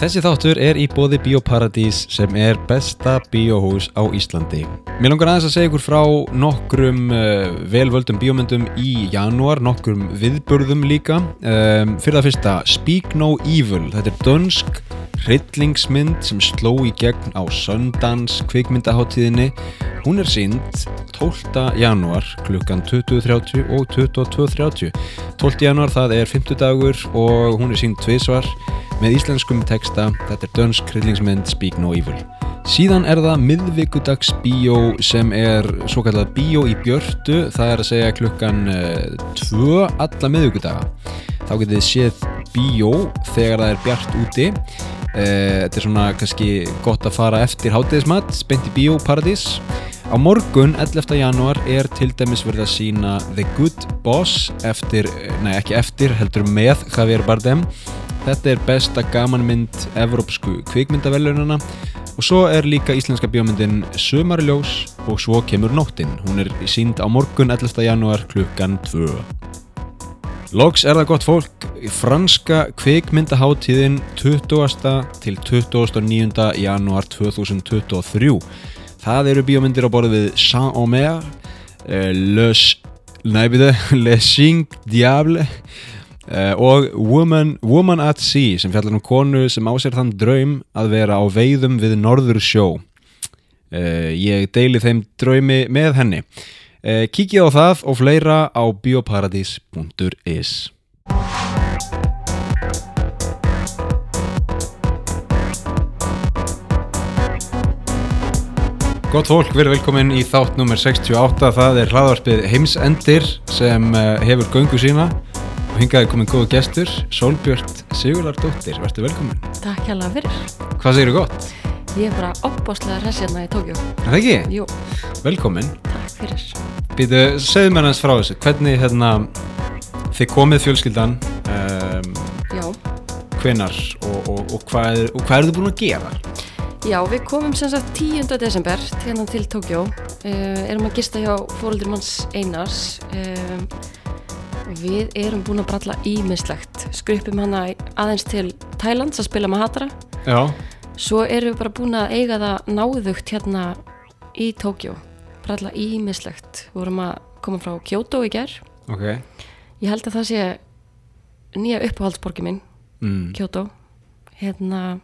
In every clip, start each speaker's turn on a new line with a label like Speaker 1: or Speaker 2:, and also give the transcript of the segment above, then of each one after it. Speaker 1: Þessi þáttur er í bóði Bíóparadís sem er besta bíóhús á Íslandi. Mér langar aðeins að segja ykkur frá nokkrum uh, velvöldum bíómyndum í janúar, nokkrum viðburðum líka. Um, fyrir það fyrsta, Speak No Evil, þetta er dönsk hryllingsmynd sem sló í gegn á Sundance kvikmyndaháttíðinni. Hún er sínd 12. janúar klukkan 20.30 og 22.30. 12. janúar það er 50 dagur og hún er sínd tvisvar með íslenskum texta, þetta er dönsk kryllingsmynd Speak No Evil. Síðan er það miðvikudags bíó sem er svo kallað bíó í björtu, það er að segja klukkan 2 alla miðvikudaga. Þá getið þið séð bíó þegar það er bjart úti. Eh, Þetta er svona kannski gott að fara eftir hátíðismat, spennt í bíóparadís. Á morgun, 11. janúar, er til dæmis verið að sína The Good Boss eftir, nei ekki eftir, heldur með Javier Bardem. Þetta er besta gamanmynd evrópsku kvikmyndavelunana og svo er líka íslenska bíómyndin Sumarljós og svo kemur nóttin. Hún er sínd á morgun 11. janúar klukkan 2. Loks er það gott fólk, franska kvikmyndaháttíðin 20. til 29. janúar 2023. Það eru bíómyndir á borðið við Saint-Omer, eh, Les, næbiðu, Les Cinq Diable eh, og Woman, Woman at Sea sem fjallar um konu sem á sér þann draum að vera á veiðum við norður sjó. Eh, Ég deili þeim draumi með henni. Eh, Kíkið á það og fleira á bioparadís.is Gott fólk, við erum velkomin í þátt nummer 68, það er hlaðvarpið Heimsendir sem eh, hefur göngu sína og hingaði komin góðu gestur, Sólbjört Sigurðardóttir, verður velkomin.
Speaker 2: Takk hérlega fyrir.
Speaker 1: Hvað segirðu gott?
Speaker 2: Ég er bara opbáslega hressirna í Tókjó.
Speaker 1: Er það ekki?
Speaker 2: Jú,
Speaker 1: Velkomin.
Speaker 2: takk fyrir.
Speaker 1: Býtu, segðu mér hans frá þessu, hvernig hérna, þið komið fjölskyldan, um,
Speaker 2: Já,
Speaker 1: hvenar og, og, og, hvað, og hvað eru þið búin að gera?
Speaker 2: já við komum sem sagt 10. desember hérna til Tókjó. Uh, erum að gista hjá fóröldur manns Einars. Uh, við erum búin að bralla ímislegt. Skrippum hana í- aðeins til Tælands að spila með Hatra.
Speaker 1: Já,
Speaker 2: Svo erum við bara búin að eiga það náðugt hérna í Tókjó. Bralla ímislegt. Við vorum að koma frá Kyoto í gerð.
Speaker 1: ok.
Speaker 2: Ég held að það sé nýja uppáhaldsborgi minn,
Speaker 1: Mm.
Speaker 2: Kyoto. Hérna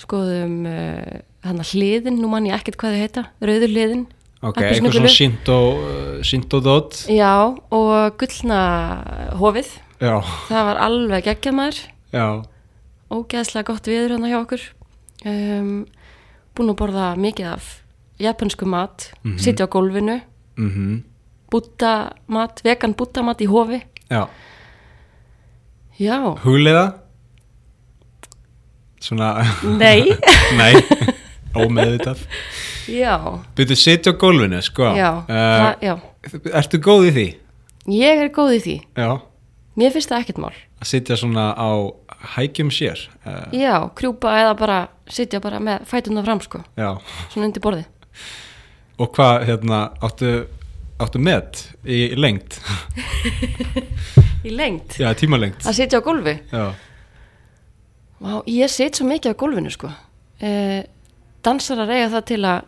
Speaker 2: skoðum uh, hana hliðin, nú man ég ekkert hvað þau heita, rauður hliðin.
Speaker 1: Ok,
Speaker 2: appelsínugulu.
Speaker 1: eitthvað svona sínt og, sínt og dótt.
Speaker 2: Já, og gullna hofið.
Speaker 1: Já,
Speaker 2: Það var alveg geggjað maður,
Speaker 1: já.
Speaker 2: ógeðslega gott viður hana hjá okkur. Um, búin að borða mikið af japansku mat,
Speaker 1: Mhm.
Speaker 2: sitja á gólfinu,
Speaker 1: Mm
Speaker 2: búta mat, vegan búta mat í hofi.
Speaker 1: Já,
Speaker 2: Já,
Speaker 1: hugleiða Svona
Speaker 2: nei,
Speaker 1: Nei, ómeðvitað
Speaker 2: já,
Speaker 1: Byrðu sitja á gólfinu, sko
Speaker 2: já,
Speaker 1: Eh,
Speaker 2: það, já.
Speaker 1: Ertu góð í því?
Speaker 2: Ég er góð í því.
Speaker 1: Já
Speaker 2: Mér finnst það ekkert mál.
Speaker 1: Að sitja svona á hækjum sér uh,
Speaker 2: Já, krjúpa eða bara sitja bara með fætuna fram sko,
Speaker 1: Já
Speaker 2: svona undir borði.
Speaker 1: Og hvað, hérna, áttu Áttu met í lengt
Speaker 2: Í lengt.
Speaker 1: Já, tímalengt
Speaker 2: Að sitja á gólfi.
Speaker 1: Já,
Speaker 2: Vá, ég sit svo mikið á gólfinu sko. Eh, dansarar eiga það til að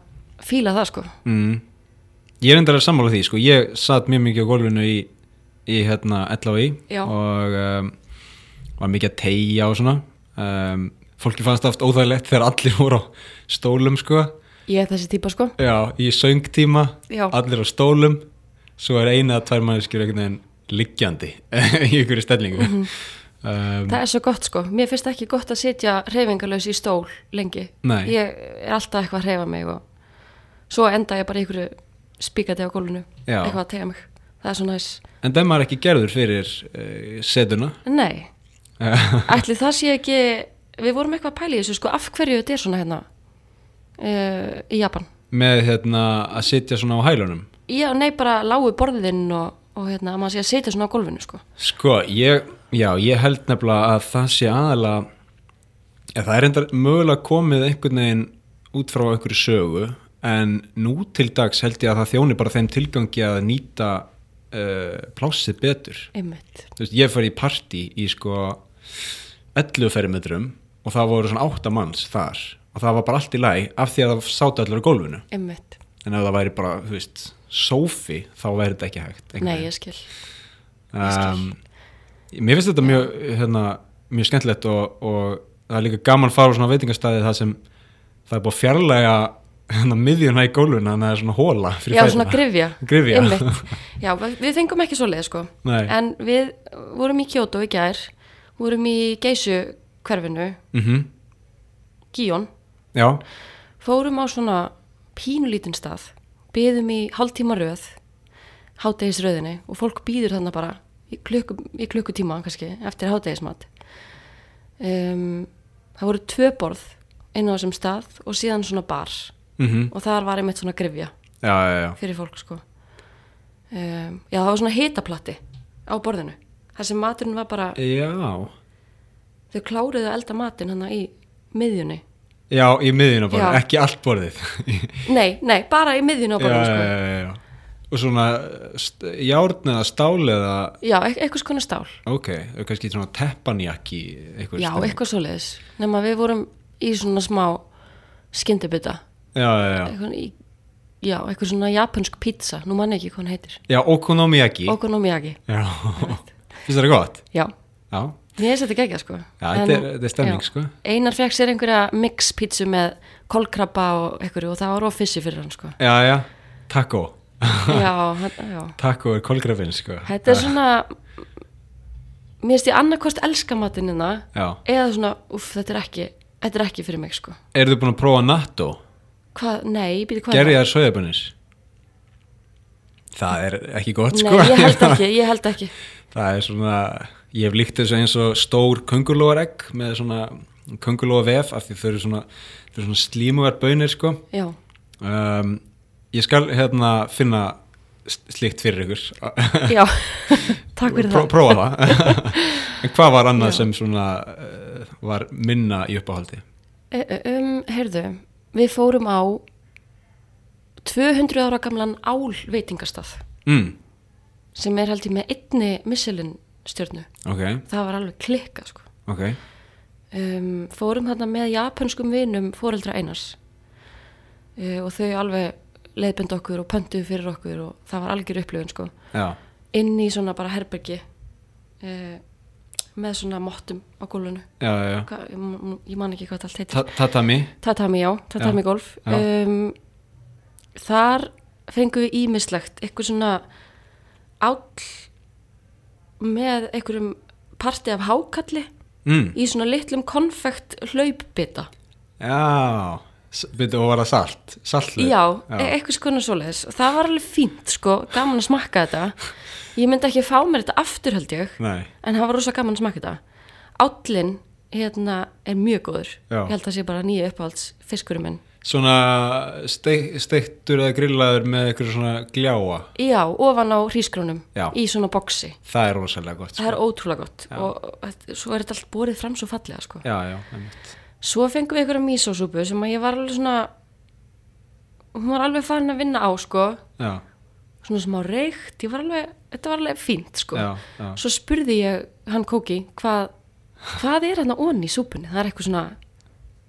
Speaker 2: fíla það sko.
Speaker 1: mm. Ég er endara að sammála því, sko Ég satt mjög mikið á gólfinu í Í hérna, LHI
Speaker 2: Já.
Speaker 1: Og um, var mikið að tegja og svona um, Fólki fannst það oft óþægilegt þegar allir voru á stólum, sko
Speaker 2: Ég er þessi típa sko.
Speaker 1: Já, í söngtíma,
Speaker 2: Já.
Speaker 1: allir á stólum svo er eina að tvær manneskjur einhvern veginn liggjandi í ykkur stellingu um,
Speaker 2: Mhm. Það er svo gott sko. Mér finnst ekki gott að sitja reyfingalös í stól lengi.
Speaker 1: Nei.
Speaker 2: Ég er alltaf eitthvað að reyfa mig og svo enda ég bara í einhverju spíkati á gólfinu.
Speaker 1: Já.
Speaker 2: Eitthvað að tega mig. Það er svo næs.
Speaker 1: En það maður ekki gerður fyrir uh, setuna
Speaker 2: Nei. Ætli það sé ekki, við vorum eitthvað að pæla í þessu sko, af hverju þetta er svona hérna uh, í Japan?
Speaker 1: með hérna að sitja svona á hælunum
Speaker 2: Já, nei, bara lágu borðin og, og hérna, að maður sé að setja svona á gólfinu sko.
Speaker 1: Sko, ég, já, ég held nefnilega að það sé aðalega eða það er enda mögulega komið einhvern veginn út frá einhverju sögu en nú til dags held ég að það þjóni bara þeim tilgangi að nýta uh, plássið betur
Speaker 2: Einmitt.
Speaker 1: þú veist, ég fær í partí í sko 11 fermetrum og það voru svona átta manns þar og það var bara allt í læg af því að það sátu allir á gólfinu
Speaker 2: Einmitt.
Speaker 1: en ef það væri bara, þú veist, sófi þá væri þetta ekki hægt einhvern
Speaker 2: Nei,
Speaker 1: veginn.
Speaker 2: ég skil.
Speaker 1: um, Mér finnst þetta mjög, hérna, mjög skemmtilegt og, og það er líka gaman að fara á svona veitingastæði það sem það er búið að fjarlæga hérna, miðjuna í gólfinu þannig að það er svona hóla fyrir
Speaker 2: Já,
Speaker 1: fæturna.
Speaker 2: svona grifja.
Speaker 1: Gryfja.
Speaker 2: Einmitt. Já, við við fengum ekki svo leið, sko.
Speaker 1: Nei.
Speaker 2: En við vorum í Kyoto í gær, vorum í geysu hverfinu,
Speaker 1: Mhm.
Speaker 2: Gion,
Speaker 1: Já,
Speaker 2: fórum á svona pínulítinn stað, byðum í hálftíma röð, hátegisröðinni og fólk býður þarna bara í, klukku, í klukkutíma kannski eftir hátegismat. Um, það voru tvö borð inn á þessum stað og síðan svona bar
Speaker 1: mhm,
Speaker 2: og þar var einmitt svona grifja
Speaker 1: já, já, já
Speaker 2: fyrir fólk sko. Um, já, það var svona hitaplatti á borðinu. Þar sem maturinn var bara,
Speaker 1: Já,
Speaker 2: þau kláruðu að elda matinn hana í miðjunni.
Speaker 1: já í miðjuna bara,
Speaker 2: Já.
Speaker 1: ekki allt borðið
Speaker 2: Nei, nei, bara í miðjunni á borðinu sko.
Speaker 1: já, já, já. Og svona st- járn eða stál eða
Speaker 2: Já, e- einhvers konar stál.
Speaker 1: ok, og kannski svona teppanjakki einhver
Speaker 2: Já,
Speaker 1: stemning.
Speaker 2: eitthvað svoleiðis. Nefn að við vorum í svona smá skyndibita.
Speaker 1: já, já, já.
Speaker 2: Eitthvað í, já, eitthvað svona japansk pizza. Nú mann ég ekki hvað hann heitir.
Speaker 1: já, okonomiyaki
Speaker 2: Okonomiyaki.
Speaker 1: já, finnst það gott
Speaker 2: Já,
Speaker 1: já,
Speaker 2: mér finnst þetta gegja sko.
Speaker 1: já þetta er, þetta er stemning sko
Speaker 2: Einar fekk sér einhverja mix pizza með kolkrabba og einhverju og það var of fissi fyrir hann sko.
Speaker 1: já, já, taco
Speaker 2: Já, hann- já.
Speaker 1: taco er kolgrafin sko
Speaker 2: Þetta er svona, mér finnst ég annarkvort elska matinina
Speaker 1: já,
Speaker 2: eða svona, uff, þetta er ekki, þetta er ekki fyrir mig sko.
Speaker 1: eru þið búin að prófa natto
Speaker 2: Hvað, nei, býti hvað er það?
Speaker 1: gerðið er söðabunis það er ekki gott sko
Speaker 2: Nei, ég held ekki, ég held ekki
Speaker 1: það er svona ég hef líkt þessu eins og stór köngulóaregg með svona köngulóa vef af því þau eru svona, þau eru svona slímugar bönir sko
Speaker 2: Já,
Speaker 1: um, ég skal hérna finna s- slíkt fyrir ykkur
Speaker 2: já, takk fyrir
Speaker 1: Pró-
Speaker 2: það
Speaker 1: prófa það en hvað var annað
Speaker 2: Já.
Speaker 1: sem svona uh, var minna í uppáhaldi
Speaker 2: E- e- um, Heyrðu, við fórum á 200 ára gamlan ál veitingastað
Speaker 1: mm,
Speaker 2: sem er held ég með einni missilin stjörnu
Speaker 1: ok,
Speaker 2: það var alveg klikka sko
Speaker 1: ok
Speaker 2: um, fórum þarna með japanskum vinum fóreldra Einars uh, og þau alveg leiðbend okkur og pöntuðu fyrir okkur og það var algjör upplifun sko
Speaker 1: já,
Speaker 2: inn í svona bara herbergi uh, með svona mottum á gólfinu
Speaker 1: já, já, já.
Speaker 2: Hva, ég, man- ég man ekki hvað það allt heitir
Speaker 1: Ta- tatami
Speaker 2: Tatami, já, tatami
Speaker 1: Já,
Speaker 2: golf
Speaker 1: já.
Speaker 2: um, Þar fengum við ímislegt eitthvað svona áll með einhverjum parti af hákalli
Speaker 1: mm,
Speaker 2: í svona litlum konfekt hlaupbita
Speaker 1: já S- byrju, og var það salt, saltlið
Speaker 2: Já, e eitthvað skona svoleiðis og það var alveg fínt sko, gaman að smakka þetta Ég myndi ekki fá mér þetta aftur held ég
Speaker 1: Nei.
Speaker 2: en það var rosa gaman að smakka þetta Állin hérna er mjög góður
Speaker 1: Já.
Speaker 2: Ég held að það sé bara nýju uppáhalds fiskurinn minn
Speaker 1: svona steik, steiktur eða grillaður með eitthvað svona gljáa
Speaker 2: Já, ofan á hrísgrónum
Speaker 1: Já.
Speaker 2: í svona boksi.
Speaker 1: það er rosalega gott
Speaker 2: Það
Speaker 1: sko.
Speaker 2: er ótrúlega gott og þetta- svo er þetta allt borið fram svo fallega sko.
Speaker 1: já, já, einmitt.
Speaker 2: Svo fengum við einhverja mísósúpu sem að ég var alveg svona, hún var alveg farin að vinna á sko,
Speaker 1: já,
Speaker 2: svona smá reykt, ég var alveg, þetta var alveg fínt sko.
Speaker 1: já, já.
Speaker 2: Svo spurði ég hann kóki hvað, hvað er hann onni í súpunni? Það er eitthvað svona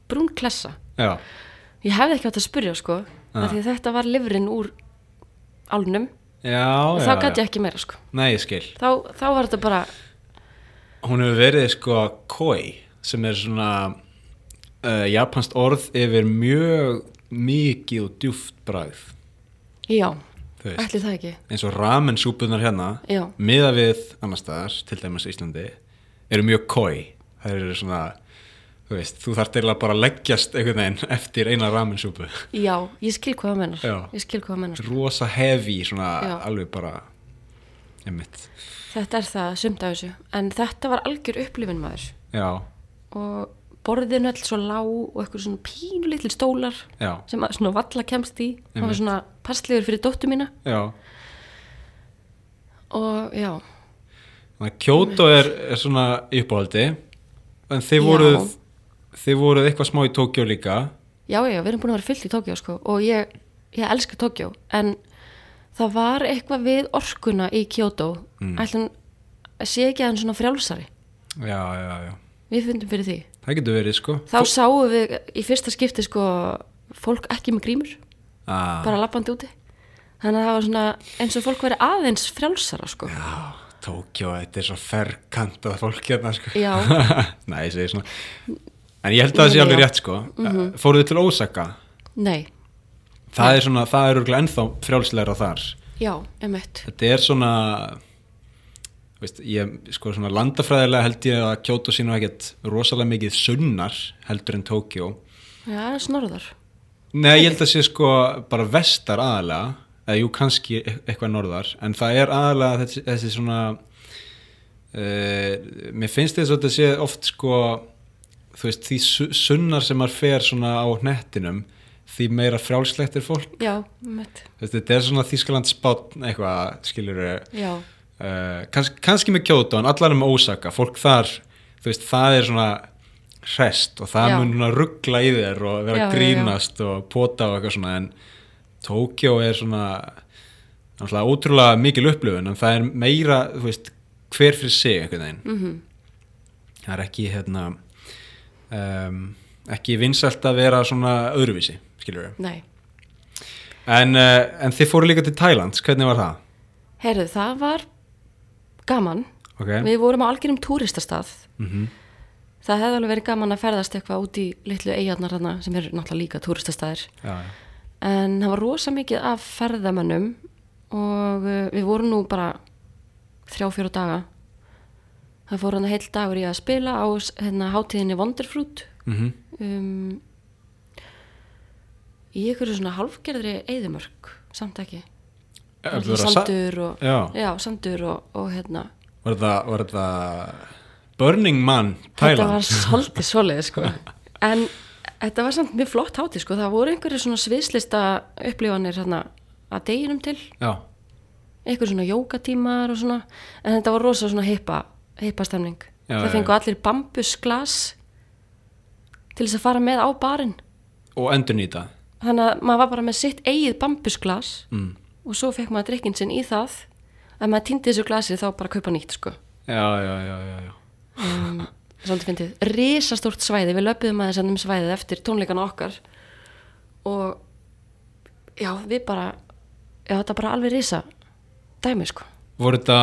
Speaker 2: brún klessa.
Speaker 1: já,
Speaker 2: Ég hefði ekki átt að spurja sko, af því að þetta var livrinn úr álnum
Speaker 1: já,
Speaker 2: og
Speaker 1: já,
Speaker 2: þá gæti
Speaker 1: já.
Speaker 2: ég ekki meira sko.
Speaker 1: Nei, ég skil
Speaker 2: Þá, þá var þetta bara
Speaker 1: hún hefur verið sko koi sem er svona uh, japanskt orð yfir mjög mikið og djúft bragð
Speaker 2: Já,
Speaker 1: Þú veist.
Speaker 2: ætli það ekki
Speaker 1: eins og ramen súpunar hérna
Speaker 2: Já.
Speaker 1: miða við annar staðar, til dæmis Íslandi eru mjög koi það eru svona, þú veist þú þarf til að bara leggjast einhvern veginn eftir eina ramen súpu
Speaker 2: Já, ég skil hvað það mennar
Speaker 1: Já.
Speaker 2: Ég skil hvað það mennar
Speaker 1: rosa hefi, svona
Speaker 2: Já.
Speaker 1: alveg bara einmitt
Speaker 2: Þetta er það sumt af þessu En þetta var algjör upplifin maður
Speaker 1: já,
Speaker 2: Og borðinu öll svo lág og eitthvað svona pínu litli stólar
Speaker 1: já,
Speaker 2: sem að svona valla kemst í Það var
Speaker 1: Einmitt.
Speaker 2: svona passlegur fyrir dóttu mína
Speaker 1: já
Speaker 2: Og já,
Speaker 1: þannig að Kyoto er, er svona í uppáhaldi en þið
Speaker 2: Já.
Speaker 1: voruð þið voruð eitthvað smá í Tókjó líka
Speaker 2: já, já, við erum búin að vera fyllt í Tókjó sko Og ég, ég elska Tókjó En það var eitthvað við orkuna í Kyoto mm. Ætlum, sé ekki að hann svona frjálsari
Speaker 1: já, já, já,
Speaker 2: Mér við fundum fyrir því.
Speaker 1: Það getur verið sko
Speaker 2: Þá sáum við í fyrsta skipti sko fólk ekki með grímur,
Speaker 1: ah,
Speaker 2: bara lappandi úti. Þannig að það var svona eins og fólk væri aðeins frjálsara sko.
Speaker 1: Já, Tókjó, þetta er svo ferkantað fólk hérna sko
Speaker 2: Já.
Speaker 1: Nei, ég segi svona En ég held að það sé
Speaker 2: Já.
Speaker 1: alveg rétt sko mm Fóruðu til Ósaka
Speaker 2: Nei,
Speaker 1: Það er svona, það er örgulega ennþá frjálslegra þar
Speaker 2: já, emett.
Speaker 1: Þetta er svona veist, ég, sko, svona landafræðilega held ég að Kyoto sínu ekkert rosalega mikið sunnar heldur en Tókjó
Speaker 2: Já, snorðar.
Speaker 1: Nei, ég held að sé sko bara vestar aðalega eða jú, kannski e- eitthvað norðar en það er aðalega þessi, þessi svona uh, mér finnst þess að þetta sé oft sko þú veist, því su- sunnar sem maður fer svona á hnettinum því meira frjálslegt er fólk
Speaker 2: Já, emett.
Speaker 1: Þú veist, þetta er svona Þískaland spátn eitthvað, skilur við
Speaker 2: Já,
Speaker 1: Uh, kanns, kannski með Kyoto en allar með Osaka, fólk þar þú veist, það er svona rest og það
Speaker 2: Já.
Speaker 1: mun svona ruggla í þér og vera að
Speaker 2: Já, já, já.
Speaker 1: grínast og pota og eitthvað svona en Tokyo er svona náttúrulega ótrúlega mikil upplifun en það er meira, þú veist, hver fyrir sig einhvern veginn
Speaker 2: mhm.
Speaker 1: það er ekki hérna um, ekki vinsælt að vera svona öðruvísi, skilur við
Speaker 2: Nei,
Speaker 1: en, uh, en þið fóru líka til Thailands, hvernig var það?
Speaker 2: heyrðu, það var gaman.
Speaker 1: ok,
Speaker 2: Við vorum á algjörum túristastað.
Speaker 1: Mhm.
Speaker 2: Það hefði alveg verið gaman að ferðast eitthvað út í litlu eigarnar hana sem eru náttúrulega líka túristastaðir.
Speaker 1: já, já.
Speaker 2: En það var rosa mikið af ferðamönnum og uh, við vorum nú bara þrjá, fjóra daga. Það fór hann heil dagur í að spila á s- hérna, hátíðinni Wonderfruit
Speaker 1: Mm
Speaker 2: um, í einhverju svona halfgerðri eyðimörk, samt ekki. Alltaf sandur og,
Speaker 1: Já.
Speaker 2: sandur og, og hérna
Speaker 1: Var það, var það Burning Man,
Speaker 2: þetta
Speaker 1: Thailand?
Speaker 2: var svolítið svolítið sko en þetta var samt mjög flott hátíð sko það voru einhverju svona sviðslista upplifanir hérna að deginum til
Speaker 1: Já,
Speaker 2: einhverju svona jókatímar og svona en þetta var rosa svona hippa hippa stemning
Speaker 1: Já, já,
Speaker 2: það fengu allir bambusglas til þess að fara með á barinn
Speaker 1: og endur nýta.
Speaker 2: þannig að maður var bara með sitt eigið bambusglas
Speaker 1: Mm.
Speaker 2: og svo fekk maður drikkinn sinn í það ef maður týndi þessu glasi þá bara kaupa nýtt sko
Speaker 1: Já, já, já, já, já.
Speaker 2: um, svolítið fyndið, risastórt svæði við löpum aðeins ennum svæðið eftir tónleikana okkar og já, við bara já, þetta er bara alveg risa dæmi, sko
Speaker 1: Voru þetta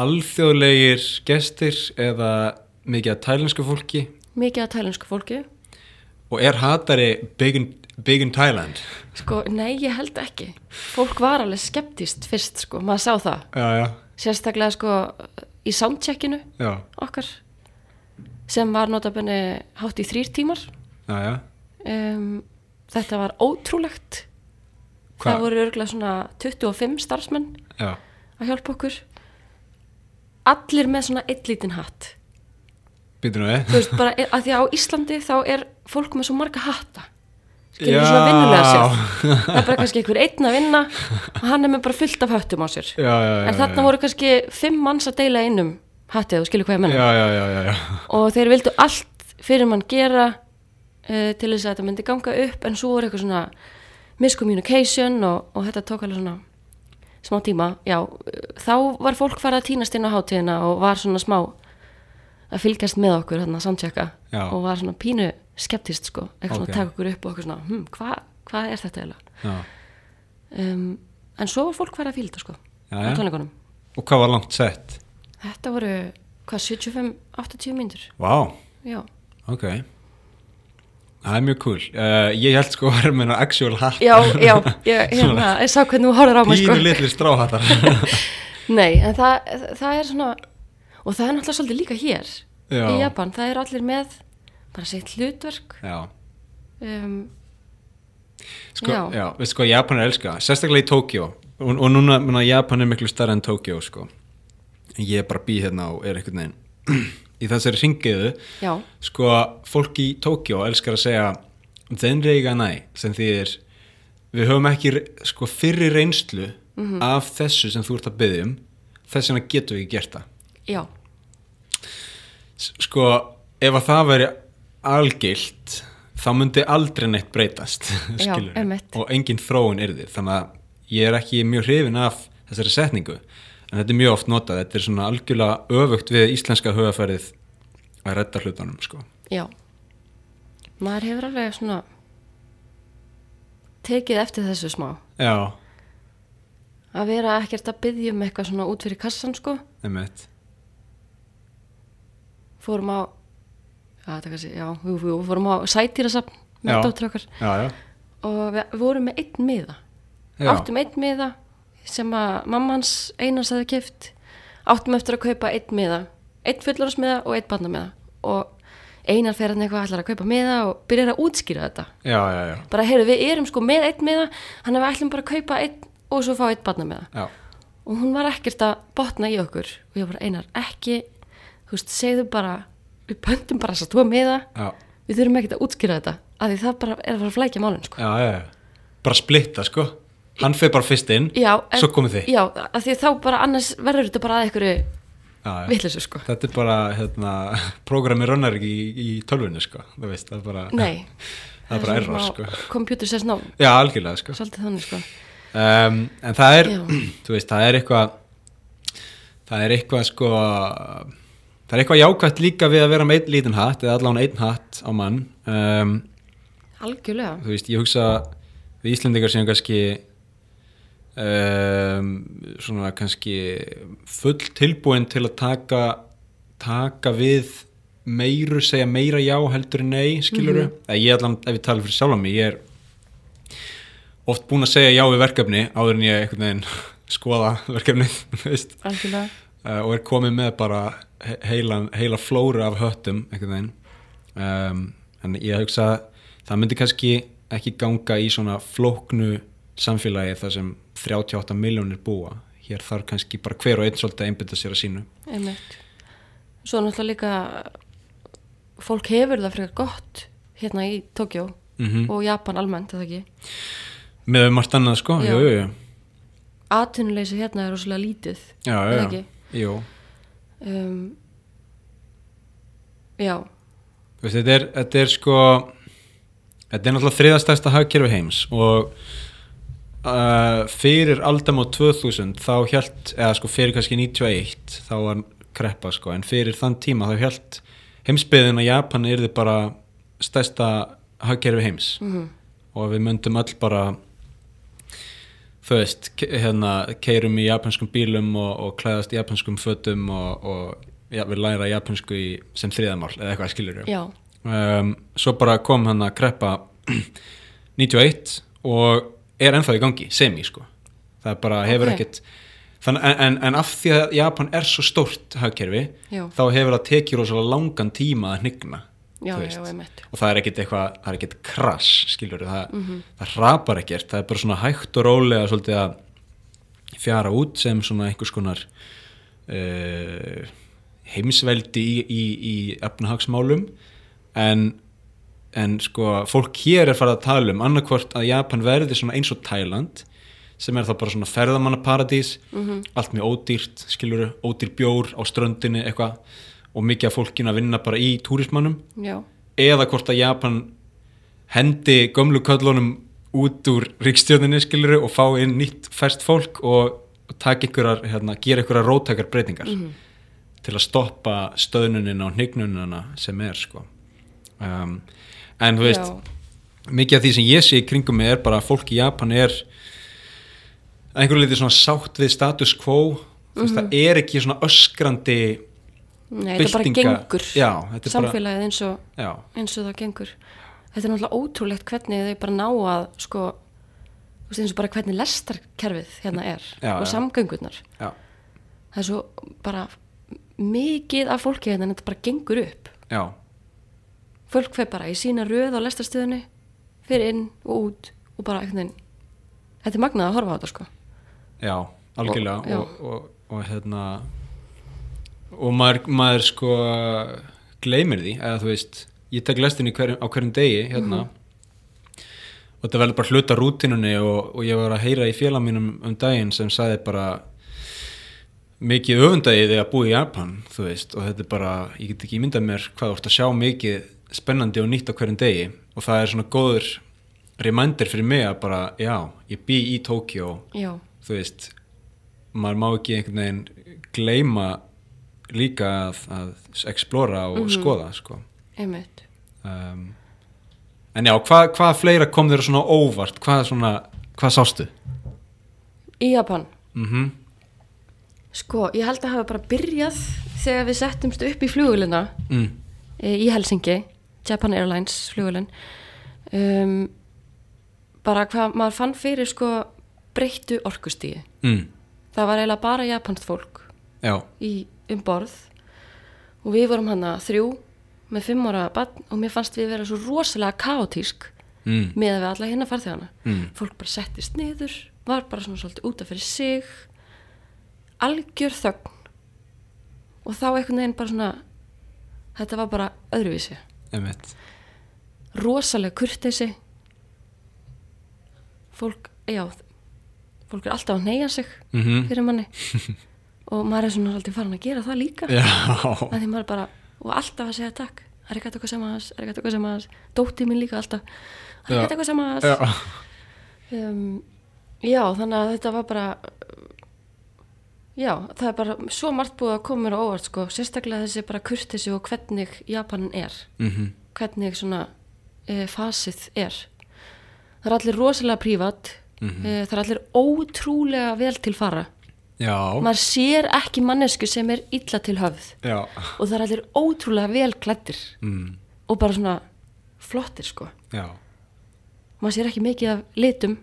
Speaker 1: alþjóðlegir gestir eða mikið að tælensku fólki?
Speaker 2: mikið af tælensku fólki
Speaker 1: Og er hatari Big in, big in Thailand?
Speaker 2: sko, nei, ég held ekki fólk var alveg skeptist fyrst, sko, maður sá það
Speaker 1: Já, já,
Speaker 2: sérstaklega, sko, í soundcheckinu
Speaker 1: já,
Speaker 2: okkar sem var notabenni hátt í þrýr tímar
Speaker 1: já, já.
Speaker 2: um, þetta var ótrúlegt
Speaker 1: Hva-
Speaker 2: það voru örgulega svona 25 starfsmenn
Speaker 1: Já,
Speaker 2: að hjálpa okkur allir með svona eitt lítinn hatt
Speaker 1: býtum við.
Speaker 2: þú veist bara að því að á Íslandi þá er fólk með svo marga hatta skilur
Speaker 1: Já.
Speaker 2: svona vinnulega sér það er bara kannski einhver einn að vinna og hann er með bara fullt af höttum á sér
Speaker 1: Já, já, já.
Speaker 2: en þarna voru kannski fimm manns að deila einum hatti þú skilur hvað ég menna
Speaker 1: Já, já, já, já, já.
Speaker 2: og þeir vildu allt fyrir mann gera uh, til þess að þetta myndi ganga upp en svo voru eitthvað svona miscommunication og, og þetta tók alveg svona smá tíma, já eh, þá var fólk farið að týnast inn á hátíðina og var svona smá að fylgjast með okkur hérna að soundchecka
Speaker 1: Já.
Speaker 2: og var svona pínu skeptist sko, eitthvað svona
Speaker 1: Ok.
Speaker 2: að taka okkur upp og okkur svona, hm, hvað hva er þetta eiginlega
Speaker 1: já.
Speaker 2: um, en svo var fólk farið að fíla þetta sko
Speaker 1: Já, já.
Speaker 2: á tónleikunum,
Speaker 1: Og hvað var langt sett?
Speaker 2: þetta voru hvað, 75-80 mínútur
Speaker 1: Vá.
Speaker 2: já,
Speaker 1: Ok Það er mjög cool uh, Ég held sko að vera með hennar actual hatt
Speaker 2: já, já, ég, hérna, ég sá hvernig þú horfður á mig
Speaker 1: Pínu
Speaker 2: sko.
Speaker 1: litli stráhattar
Speaker 2: Nei, en það, það er svona og það er náttúrulega svolítið líka hér
Speaker 1: Já.
Speaker 2: í Japan, það er allir með bara sitt hlutverk
Speaker 1: Já
Speaker 2: um,
Speaker 1: Sko, já,
Speaker 2: Já.
Speaker 1: veist sko, Japan er elska Sérstaklega í Tókjó og, og núna, núna, Japan er miklu starra en Tókjó sko En Ég er bara bý hérna og er einhvern veginn Í þessari ringiðu
Speaker 2: Já,
Speaker 1: Sko, fólk í Tókjó elskar að segja Zenreiga næ sem þýðir Við höfum ekki re- sko, fyrri reynslu
Speaker 2: Mhm.
Speaker 1: af þessu sem þú ert að byggja um þess vegna getum við ekki gert það
Speaker 2: já,
Speaker 1: S- sko, ef að það væri algilt, þá myndi aldrei neitt breytast,
Speaker 2: Já,
Speaker 1: skilur
Speaker 2: einmitt.
Speaker 1: og engin þróun yrði þannig að ég er ekki mjög hrifin af þessari setningu, en þetta er mjög oft notað þetta er svona algjörlega öfugt við íslenska höfafærið að redda hlutunum sko.
Speaker 2: Já, maður hefur alveg svona tekið eftir þessu smá
Speaker 1: Já,
Speaker 2: að vera ekkert að byggja um eitthvað svona út fyrir kassan sko
Speaker 1: einmitt
Speaker 2: fórum á já, þetta kannski, já, jú, jú, fórum á sætýrasafn
Speaker 1: Já.
Speaker 2: með dóttur okkar
Speaker 1: Já, já,
Speaker 2: og við vorum með einn miða
Speaker 1: já.
Speaker 2: áttum einn miða sem að mamma hans einans hefði keft áttum eftir að kaupa einn miða einn fullorðsmiða og einn barnamiða og einar fer hann eitthvað ætlar að kaupa miða og byrjar að útskýra þetta
Speaker 1: já, já, já,
Speaker 2: bara heyrðu við erum sko með einn miða hann við ætlum bara að kaupa einn og svo fá einn barnamiða
Speaker 1: já
Speaker 2: og hún var ekkert að botna í okkur og ég bara einar ekki þú veist, segðu bara við pöntum bara þess að tóa miða
Speaker 1: Já,
Speaker 2: við þurfum ekkert að útskýra þetta af því það bara er að fara að flækja málun sko.
Speaker 1: já, já, já. bara splitta sko hann fer bara fyrst inn,
Speaker 2: já, en-
Speaker 1: svo komið þið
Speaker 2: já, af því þá bara annars verður þetta bara að einhverju
Speaker 1: já, já.
Speaker 2: vitleysu sko
Speaker 1: þetta er bara hérna, prógrami rönnar ekki í, í tölvunni sko það, veist, það er bara,
Speaker 2: nei,
Speaker 1: það er bara error sko
Speaker 2: computer says no,
Speaker 1: já, algjörlega sko
Speaker 2: svolítið þannig sko
Speaker 1: um, en það er,
Speaker 2: Já.
Speaker 1: þú veist, það er eitthvað það er eitthvað sko það er eitthvað jákvætt líka við að vera með einn lítinn hatt eða allan einn hatt á mann um,
Speaker 2: algjörlega,
Speaker 1: þú veist, ég hugsa við Íslendingar séum kannski um, svona kannski full tilbúin til að taka taka við meiru, segja meira já heldur en nei, skiluru mm ég allan, ef ég tala fyrir sjálf á mig, ég er oft búin að segja já við verkefni áður en ég einhvern veginn skoða verkefnið, þú veist
Speaker 2: algjörlega
Speaker 1: uh, og er komið með bara he- heilan, heila flóru af höttum einhvern veginn um, en ég hugsa að það myndi kannski ekki ganga í svona flóknu samfélagi þar sem 38 miljónir búa hér þarf kannski bara hver og einn svolítið að einbytta sér að sínu
Speaker 2: Einmitt. Svo náttúrulega líka fólk hefur það frekar gott hérna í Tókjó
Speaker 1: Mhm.
Speaker 2: og Japan almennt, er það ekki.
Speaker 1: með um margt annað sko
Speaker 2: Já.
Speaker 1: jú, jú, jú.
Speaker 2: Atvinnuleysi hérna er rosalega lítið.
Speaker 1: Já,
Speaker 2: Er það
Speaker 1: já, já.
Speaker 2: ekki?
Speaker 1: Jú.
Speaker 2: Um, já,
Speaker 1: Þú Veist, þetta, er, þetta er sko þetta er náttúrulega þriðastæsta hagkerfi heims og uh, fyrir aldamót 2000 þá hjælt, eða sko fyrir kannski 91 þá var kreppa sko en fyrir þann tíma þá hjælt heimsbyðin að Japan yrði bara stærsta hagkerfi heims
Speaker 2: mhm,
Speaker 1: og við myndum öll bara þú veist, ke- hérna keirum í japanskum bílum og, og klæðast í japanskum fötum og, og ja, við læra japansku í, sem þriðamál eða eitthvað skilur
Speaker 2: já,
Speaker 1: um, svo bara kom hann að kreppa 91 og er ennþá í gangi, semi sko það er bara hefur
Speaker 2: Ok.
Speaker 1: ekkert þann, en, en, en af því að Japan er svo stórt hagkerfi,
Speaker 2: Já.
Speaker 1: þá hefur það tekið rosalega langan tíma að hnygna
Speaker 2: já,
Speaker 1: þú
Speaker 2: já, einmitt.
Speaker 1: og það er ekkert eitthvað, það er ekkert krass skilur, það, það hrapar ekkert það er bara svona hægt og rólega svolítið að fjara út sem svona einhvers konar uh, heimsveldi í, í, í efnahagsmálum en, en sko fólk hér er farið að tala um annarkvort að Japan verði svona eins og Tæland sem er þá bara svona ferðamannaparadís allt mjög ódýrt, skilur ódýr bjór á ströndinni eitthvað og mikið af fólkinu að vinna bara í túrismannum
Speaker 2: Já,
Speaker 1: eða hvort að Japan hendi gömlu köllunum út úr ríkstjórninni skiluru og fá inn nýtt fæst fólk og, og taka einhverjar, hérna, gera einhverjar rótækar breytingar til að stoppa stöðnunin og hnignunina sem er sko um, en þú veist
Speaker 2: já,
Speaker 1: mikið af því sem ég sé í kringum mig er bara að fólk í Japan er að einhverju leiti svona sátt við status quo þú veist það er ekki svona öskrandi
Speaker 2: nei, þetta bara
Speaker 1: byltinga-
Speaker 2: gengur.
Speaker 1: Já, þetta er bara-
Speaker 2: Samfélagið eins og,
Speaker 1: já,
Speaker 2: eins og það gengur. Þetta er náttúrulega ótrúlegt hvernig þau bara ná að, sko, þú veist eins og bara hvernig lestarkerfið hérna er
Speaker 1: Já,
Speaker 2: og
Speaker 1: já.
Speaker 2: samgöngurnar.
Speaker 1: já,
Speaker 2: það er svo bara mikið af fólki hérna en þetta bara gengur upp
Speaker 1: já
Speaker 2: fólk fer bara í sína röð á lestarstöðinu fyrir inn og út og bara einhvern veginn þetta er magnað að horfa á þetta sko
Speaker 1: Já, algjörlega og,
Speaker 2: já.
Speaker 1: og, og, hérna og maður, maður sko gleymir því, eða þú veist ég tek lestin hver, á hverjum degi hérna og þetta verður bara hluta rútinunni og, og ég var að heyra í félag mínum um daginn sem sagði bara mikið öfundagið þegar að búa í Japan, þú veist og þetta er bara, ég get ekki ímyndað mér hvað þú ert að sjá mikið spennandi og nýtt á hverjum degi og það er svona góður reminder fyrir mig að bara, já, ég bý í Tókjó
Speaker 2: já,
Speaker 1: þú veist maður má ekki einhvern veginn gleyma líka að, að explora og
Speaker 2: Mhm.
Speaker 1: skoða sko.
Speaker 2: einmitt.
Speaker 1: um, en já, hvað, hvað fleira kom þér svona óvart hvað, svona, hvað sástu?
Speaker 2: Í Japan,
Speaker 1: Mm
Speaker 2: sko, ég held að hafa bara byrjað þegar við settumst upp í flugulina
Speaker 1: mm.
Speaker 2: e, í Helsingi, Japan Airlines flugulin, um, bara hvað maður fann fyrir sko breyttu orkustíði.
Speaker 1: Mm.
Speaker 2: Það var eiginlega bara japanst fólk
Speaker 1: já,
Speaker 2: í, um borð og við vorum hana þrjú með fimm ára barn og mér fannst við vera svo rosalega kaotísk
Speaker 1: mm.
Speaker 2: með að við alla hérna farþegana
Speaker 1: Mm.
Speaker 2: fólk bara settist niður var bara svona svolítið út af fyrir sig algjör þögn og þá einhvern veginn bara svona þetta var bara öðruvísi
Speaker 1: einmitt
Speaker 2: rosalega kurteisi fólk, já fólk er alltaf að neyja sig
Speaker 1: mm
Speaker 2: fyrir manni og maður er svona svolítið farin að gera það líka
Speaker 1: já,
Speaker 2: að því maður bara, og alltaf að segja takk arigato gozaimasu, arigato gozaimasu dótti mín líka alltaf arigato
Speaker 1: Já.
Speaker 2: gozaimasu
Speaker 1: já.
Speaker 2: um, já, þannig að þetta var bara já, það er bara svo margt búið að koma mér á óvart sko, sérstaklega þessi bara kurtisi og hvernig Japanin er
Speaker 1: Mm
Speaker 2: hvernig svona e, fasið er það er allir rosalega prívat e, það er allir ótrúlega vel til fara
Speaker 1: já,
Speaker 2: maður sér ekki mannesku sem er illa til höfð
Speaker 1: já.
Speaker 2: og það er allir ótrúlega vel klættir
Speaker 1: Mm.
Speaker 2: og bara svona flottir sko
Speaker 1: já.
Speaker 2: maður sér ekki mikið af litum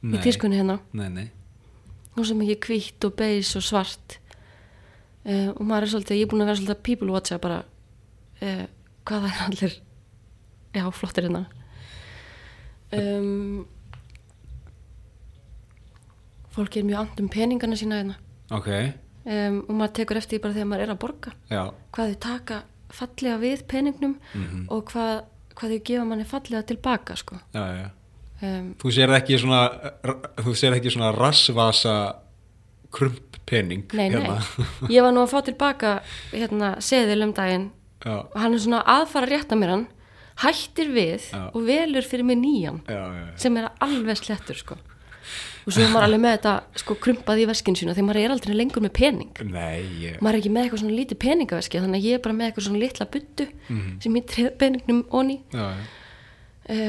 Speaker 1: Nei.
Speaker 2: í tískunni hérna
Speaker 1: nei, nei
Speaker 2: og svo mikið hvítt og beis og svart uh, og maður er svolítið ég er búin að vera svolítið að people watcha bara uh, hvað það er allir já, flottir hérna um, fólk er mjög andum peningana sína hérna
Speaker 1: ok,
Speaker 2: um, og maður tekur eftir því bara þegar maður er að borga
Speaker 1: já,
Speaker 2: hvað þau taka fallega við peningnum og hvað, hvað þau gefa manni fallega tilbaka sko.
Speaker 1: já, já
Speaker 2: um,
Speaker 1: Þú sér ekki svona þú sér ekki svona rassvasa krumppening hérna?
Speaker 2: nei, nei, ég var nú að fá tilbaka hérna, seðil um daginn
Speaker 1: Já,
Speaker 2: og hann er svona aðfara rétt að mér hann hættir við
Speaker 1: Já.
Speaker 2: og velur fyrir mig nýjan
Speaker 1: já, já, já.
Speaker 2: sem er alveg slettur sko. og svo er maður alveg með þetta sko, krumpað í veskinu sína þegar maður er aldrei lengur með pening
Speaker 1: Nei, ég,
Speaker 2: maður er ekki með eitthvað svona lítið peningaveski þannig að ég er bara með eitthvað svona litla buttu
Speaker 1: Mhm.
Speaker 2: sem ég treð peningnum onni
Speaker 1: já, já,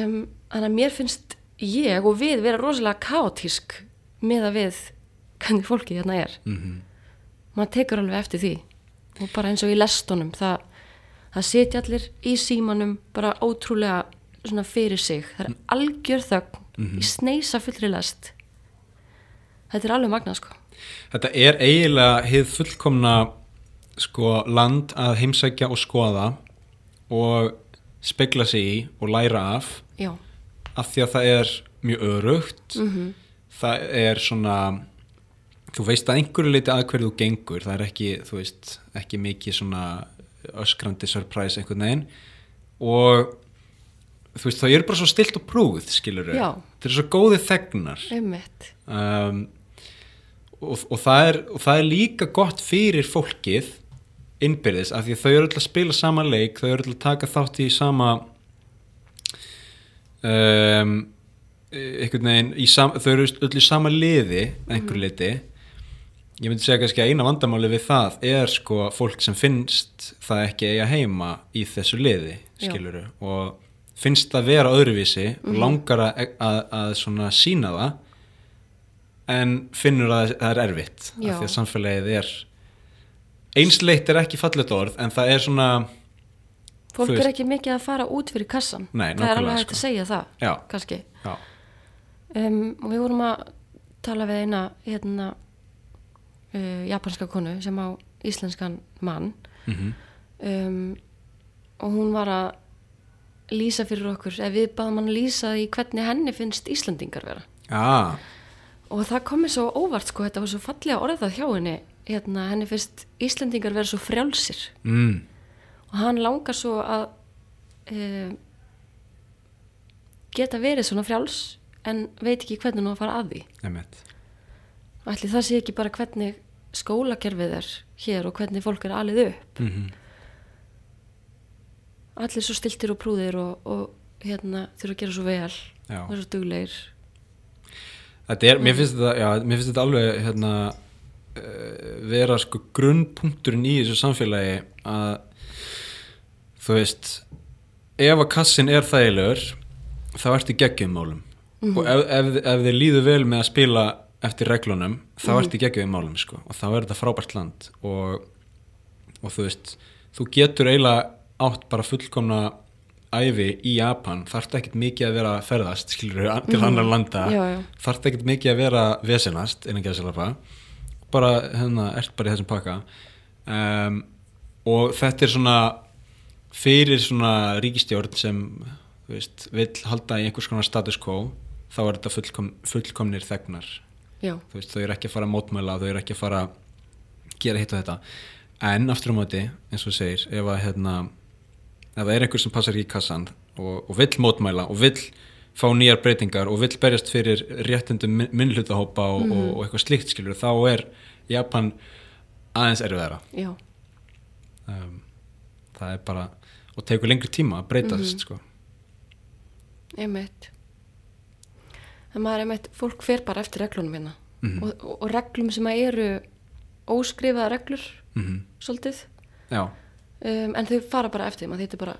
Speaker 2: um, þannig að mér finnst ég og við vera rosalega kaotísk með að við hvernig fólkið hérna er
Speaker 1: mhm,
Speaker 2: maður tekur alveg eftir því og bara eins og í lestunum það, það sitja allir í símanum bara ótrúlega svona fyrir sig
Speaker 1: Mm.
Speaker 2: það er algjör þögn
Speaker 1: Mhm.
Speaker 2: í sneisa fullri lest þetta er alveg magnað sko
Speaker 1: Þetta er eiginlega hið fullkomna sko land að heimsækja og skoða og spegla sig í og læra af
Speaker 2: já,
Speaker 1: af því að það er mjög örugt það er svona þú veist að einhverju leiti að hverju þú gengur það er ekki, þú veist, ekki mikið svona öskrandi surprise einhvern veginn og þú veist, það er bara svo stilt og prúð skilur við,
Speaker 2: Já.
Speaker 1: það er svo góði þegnar
Speaker 2: ummitt
Speaker 1: um, og, og, það er, og það er líka gott fyrir fólkið innbyrðis af því að þau eru öll að spila sama leik þau eru öll að taka þátt í sama um, einhvern veginn í sam, þau eru öll í sama liði að einhverju liti ég myndi segja kannski að eina vandamáli við það er sko fólk sem finnst það ekki eiga heima í þessu liði
Speaker 2: Já.
Speaker 1: skiluru og finnst það vera öðruvísi og langar að, að, að svona sína það en finnur að það er erfitt af
Speaker 2: Já.
Speaker 1: því að samfélagið er einsleitt er ekki fallet orð en það er svona
Speaker 2: fólk
Speaker 1: Þú
Speaker 2: er
Speaker 1: veist-
Speaker 2: ekki mikið að fara út fyrir kassan
Speaker 1: Nei,
Speaker 2: það er alveg
Speaker 1: nákvæmlega,
Speaker 2: hægt að
Speaker 1: sko.
Speaker 2: segja það
Speaker 1: Já.
Speaker 2: kannski
Speaker 1: já,
Speaker 2: um, og við vorum að tala við eina hérna uh, japanska konu sem á íslenskan mann
Speaker 1: mm -hmm.
Speaker 2: um, og hún var að lýsa fyrir okkur ef við baðum hann að lýsa í hvernig henni finnst Íslandingar vera
Speaker 1: ah,
Speaker 2: og það komi svo óvart sko þetta var svo fallega orðað hjá henni hérna, henni finnst Íslandingar vera svo frjálsir
Speaker 1: mm,
Speaker 2: og hann langar svo að um, geta verið svona frjáls en veit ekki hvernig hún á að fara að því
Speaker 1: emitt
Speaker 2: Ætli það sé ekki bara hvernig skólakerfið er hér og hvernig fólk er alið upp.
Speaker 1: mm -hmm.
Speaker 2: Allir svo stiltir og prúðir og, og hérna, þurfa að gera svo vel
Speaker 1: Já.
Speaker 2: og svo duglegir.
Speaker 1: Þetta er, mér finnst þetta, já, mér finnst þetta alveg hérna, eh, vera sko grunnpunkturinn í þessu samfélagi að þú veist ef að kassin er þægilegur þá ertu í geggjumálum mm og ef, ef, ef þið líður vel með að spila eftir reglunum þá ertu í geggjumálum sko og þá er þetta frábært land og, og þú veist þú getur eiginlega átt bara fullkomna æfi í Japan þarftu ekkert mikið að vera að ferðast skilur til mm. annar landa
Speaker 2: Mhm. Já, já.
Speaker 1: þarf ekkert mikið að vera vesenast innan gæðsalapa bara hérna, ert bara í þessum pakka um, og þetta er svona fyrir svona ríkistjórn sem þú veist, vill halda í einhvers konar status quo þá er þetta fullkom, fullkomnir þegnar
Speaker 2: já,
Speaker 1: þú veist, þau eru ekki að fara að mótmæla þau eru ekki að fara að gera hitt og þetta en aftur á móti, eins og þú segir ef að hérna ef það er einhver sem passar ekki í kassan og, og vill mótmæla og vill fá nýjar breytingar og vill berjast fyrir réttindum min- minnhlutahópa og, og, og eitthvað slíkt skilur þá er Japan aðeins erfiðara
Speaker 2: já.
Speaker 1: um, það er bara og tekur lengri tíma að breytast sko.
Speaker 2: einmitt en maður er einmitt, fólk fer bara eftir reglunum hérna
Speaker 1: Mhm.
Speaker 2: og, og, og reglum sem að eru óskrifaða reglur
Speaker 1: mm
Speaker 2: svolítið,
Speaker 1: já,
Speaker 2: um, en þau fara bara eftir þeim að þetta er bara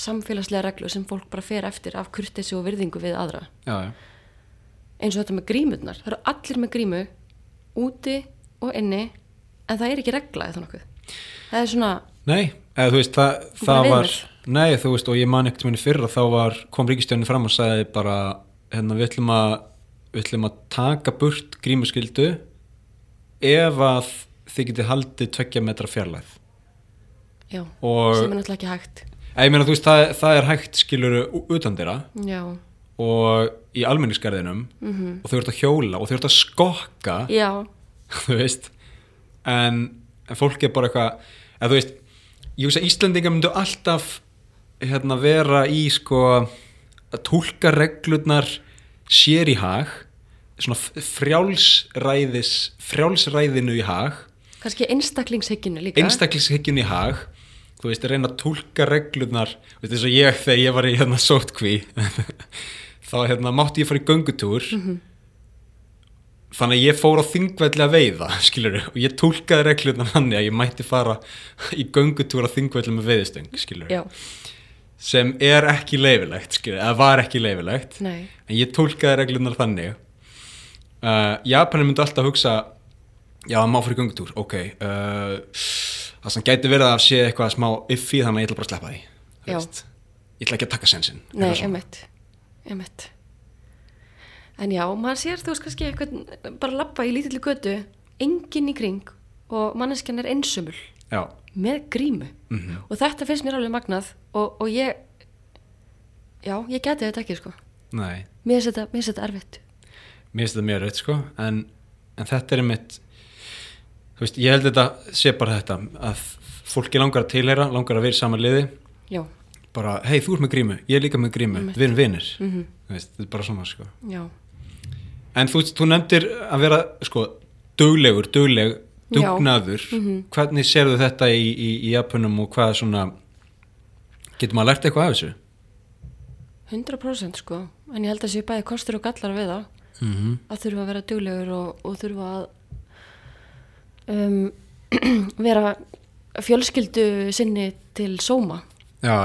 Speaker 2: samfélagslega reglur sem fólk bara fer eftir af kurtesi og virðingu við aðra
Speaker 1: já, já,
Speaker 2: eins og þetta með grímurnar, það eru allir með grímu úti og inni en það er ekki regla eða nokkuð það er svona,
Speaker 1: Nei, eða þú veist, það,
Speaker 2: Þú bara
Speaker 1: það var
Speaker 2: vinnur.
Speaker 1: Nei, þú veist, og ég man ekkert minni fyrra þá var, kom ríkistjónin fram og sagði bara, hérna, við ætlum að við ætlum að taka burt grímuskyldu ef að þið getið haldið tveggja metra fjarlæð
Speaker 2: já,
Speaker 1: Og-
Speaker 2: sem er náttúrulega ekki hægt
Speaker 1: eða ég meina, þú veist, það, það er hægt skilur utan þeirra
Speaker 2: já,
Speaker 1: og í almenningsgarðinum -hmm. og þau ert að hjóla og þau ert að skokka
Speaker 2: Mhm. já,
Speaker 1: þú veist en, en fólk er bara eitthvað eða þú veist, ég veist að Íslendingar myndu alltaf hérna vera í sko að tólka reglurnar sér í hag svona f- frjálsræðis frjálsræðinu í hag
Speaker 2: kannski einstaklingshygginu líka
Speaker 1: einstaklingshyggin í hag þú veist, reyna að tólka reglurnar þú veist, eins og ég þegar ég var í hérna sótkví þá hérna mátti ég fara í göngutúr þannig að ég fór á þingvelli að veiða, skilur og ég tólkaði reglurnar þannig að ég mætti fara í göngutúr á þingvelli með veiðstöng, skilur
Speaker 2: já,
Speaker 1: sem er ekki leifilegt, skilur, eða var ekki leifilegt
Speaker 2: nei,
Speaker 1: en ég tólkaði reglunar þannig uh, Japanir myndu alltaf hugsa já, má fyrir göngutúr, ok uh, það sem gæti verið að sé eitthvað smá iffi þannig að ég ætla bara að sleppa því þú
Speaker 2: Já.
Speaker 1: veist. ég ætla ekki að taka sensin
Speaker 2: Nei, emitt, emitt. En já, maður sér þú veist kannski eitthvað, bara lappa í lítilli götu, enginn í kring og manneskjan er einsömul
Speaker 1: já, Mhm.
Speaker 2: með grímu. -hmm. Og þetta finnst mér alveg magnað og, og ég, já, ég geti þetta ekki, sko.
Speaker 1: nei,
Speaker 2: Mér finnst þetta, mér finnst þetta erfitt.
Speaker 1: mér finnst þetta mjög rauð sko, en, en þetta er mitt þú veist, ég held þetta sé bara þetta, að fólki langar að tilheyra, langar að vera í sama liði
Speaker 2: Já,
Speaker 1: bara, hei, þú ert með grímu, ég er líka með grímu
Speaker 2: Einmitt.
Speaker 1: við erum vinir,
Speaker 2: Mhm.
Speaker 1: þú veist, þetta er bara svona sko
Speaker 2: já,
Speaker 1: En þú, þú nefndir að vera sko, duglegur, dugleg,
Speaker 2: Já.
Speaker 1: dugnaður.
Speaker 2: Mhm.
Speaker 1: Hvernig sérðu þetta í, í, í Japanum og hvað svona, getur maður lært eitthvað af þessu?
Speaker 2: 100% sko. En ég held að séu bæði kostur og gallar við það.
Speaker 1: Mm -hmm.
Speaker 2: að þurfa að vera duglegur og, og þurfa að um, vera fjölskyldu sinni til sóma
Speaker 1: Já,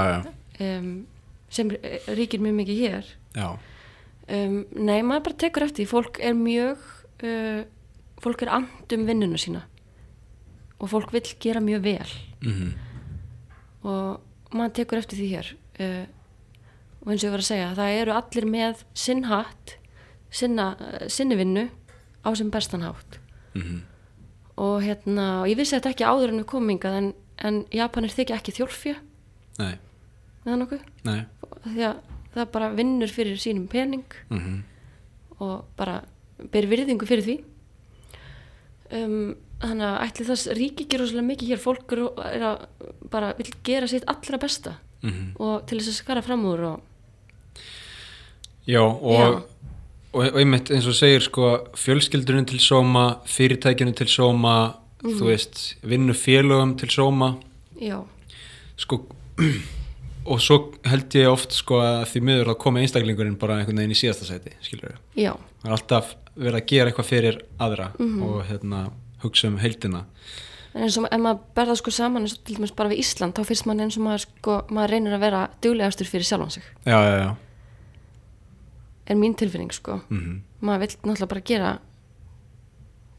Speaker 1: já,
Speaker 2: um, sem eh, ríkir mjög mikið hér
Speaker 1: já,
Speaker 2: um, nei, maður bara tekur eftir því. fólk er mjög uh, fólk er and um vinnuna sína og fólk vill gera mjög vel
Speaker 1: mm
Speaker 2: og maður tekur eftir því hér uh, og eins og ég var að segja það eru allir með sinn hatt sinna, uh, sinni vinnu á sem bestan hátt
Speaker 1: Mhm.
Speaker 2: og hérna, og ég vissi þetta ekki áður en við komum hingað en, en Japanir þykja ekki þjólfja
Speaker 1: nei,
Speaker 2: eða nokkuð,
Speaker 1: nei,
Speaker 2: því að það bara vinnur fyrir sínum pening
Speaker 1: mm
Speaker 2: og bara ber virðingu fyrir því um, þannig að ætli þess ríki ekki rosalega mikið hér fólk er, er að bara vil gera sitt allra besta
Speaker 1: Mhm.
Speaker 2: og til þess að skara fram úr og
Speaker 1: já, og,
Speaker 2: Já.
Speaker 1: og, og einmitt eins og segir sko, fjölskyldunum til sóma, fyrirtækjunum til sóma,
Speaker 2: Mhm.
Speaker 1: þú veist, vinnu félögum til sóma.
Speaker 2: já,
Speaker 1: sko og svo held ég oft sko að því miður að koma einstaklingurinn bara einhvern veginn í síðasta sæti skilur við,
Speaker 2: já,
Speaker 1: það er alltaf verið að gera eitthvað fyrir aðra og hérna hugsa um heildina
Speaker 2: En eins og ef maður berða sko saman eins og til dæmis bara við Ísland þá finnst mann eins og maður sko, maður reynir að vera duglegastur fyrir sjálfan sig
Speaker 1: já, já, já,
Speaker 2: er mín tilfinning sko
Speaker 1: Mhm.
Speaker 2: maður vill náttúrulega bara gera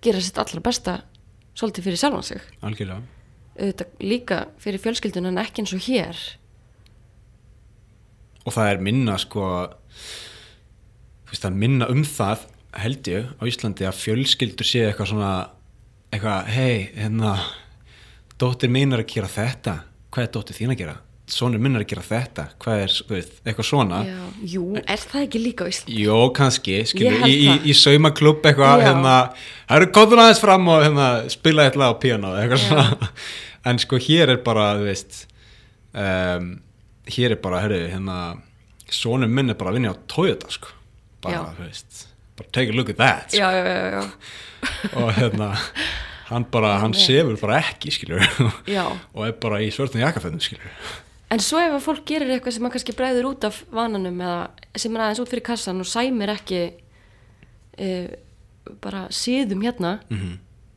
Speaker 2: gera sitt allra besta svolítið fyrir sjálfan sig
Speaker 1: algjörlega
Speaker 2: auðvitað líka fyrir fjölskyldun en ekki eins og hér
Speaker 1: og það er minna sko þú veist það er minna um það held ég á Íslandi að fjölskyldur sé eitthvað svona eitthvað, hei, hérna dóttir mín er að gera þetta hvað er dóttir þín að gera? sonur minn er að gera þetta, hvað er, þú veist, eitthvað svona
Speaker 2: Já. Jú, er það ekki líka á Íslandi?
Speaker 1: Jó, kannski, skilur,
Speaker 2: Ég held
Speaker 1: í, í,
Speaker 2: það.
Speaker 1: í saumaklubb eitthvað,
Speaker 2: Já.
Speaker 1: hérna, það eru kóðun aðeins fram og hérna, spila eitthvað á píano eitthvað svona, en sko hér er bara, þú veist, um, hér er bara, herru, hérna, sonum minn er bara að vinna á Toyota, sko, bara,
Speaker 2: Já.
Speaker 1: þú veist, bara take a look at that,
Speaker 2: Já, já, já, já.
Speaker 1: sko. og hérna, hann bara, hann sefur bara ekki, skilur,
Speaker 2: Já.
Speaker 1: og er bara í svörðum jakkaföndum, skilur,
Speaker 2: En svo ef að fólk gerir eitthvað sem maður kannski bregður út af vananum eða sem er aðeins út fyrir kassan og sæmir ekki e, bara síðum hérna
Speaker 1: Mhm.
Speaker 2: -hmm.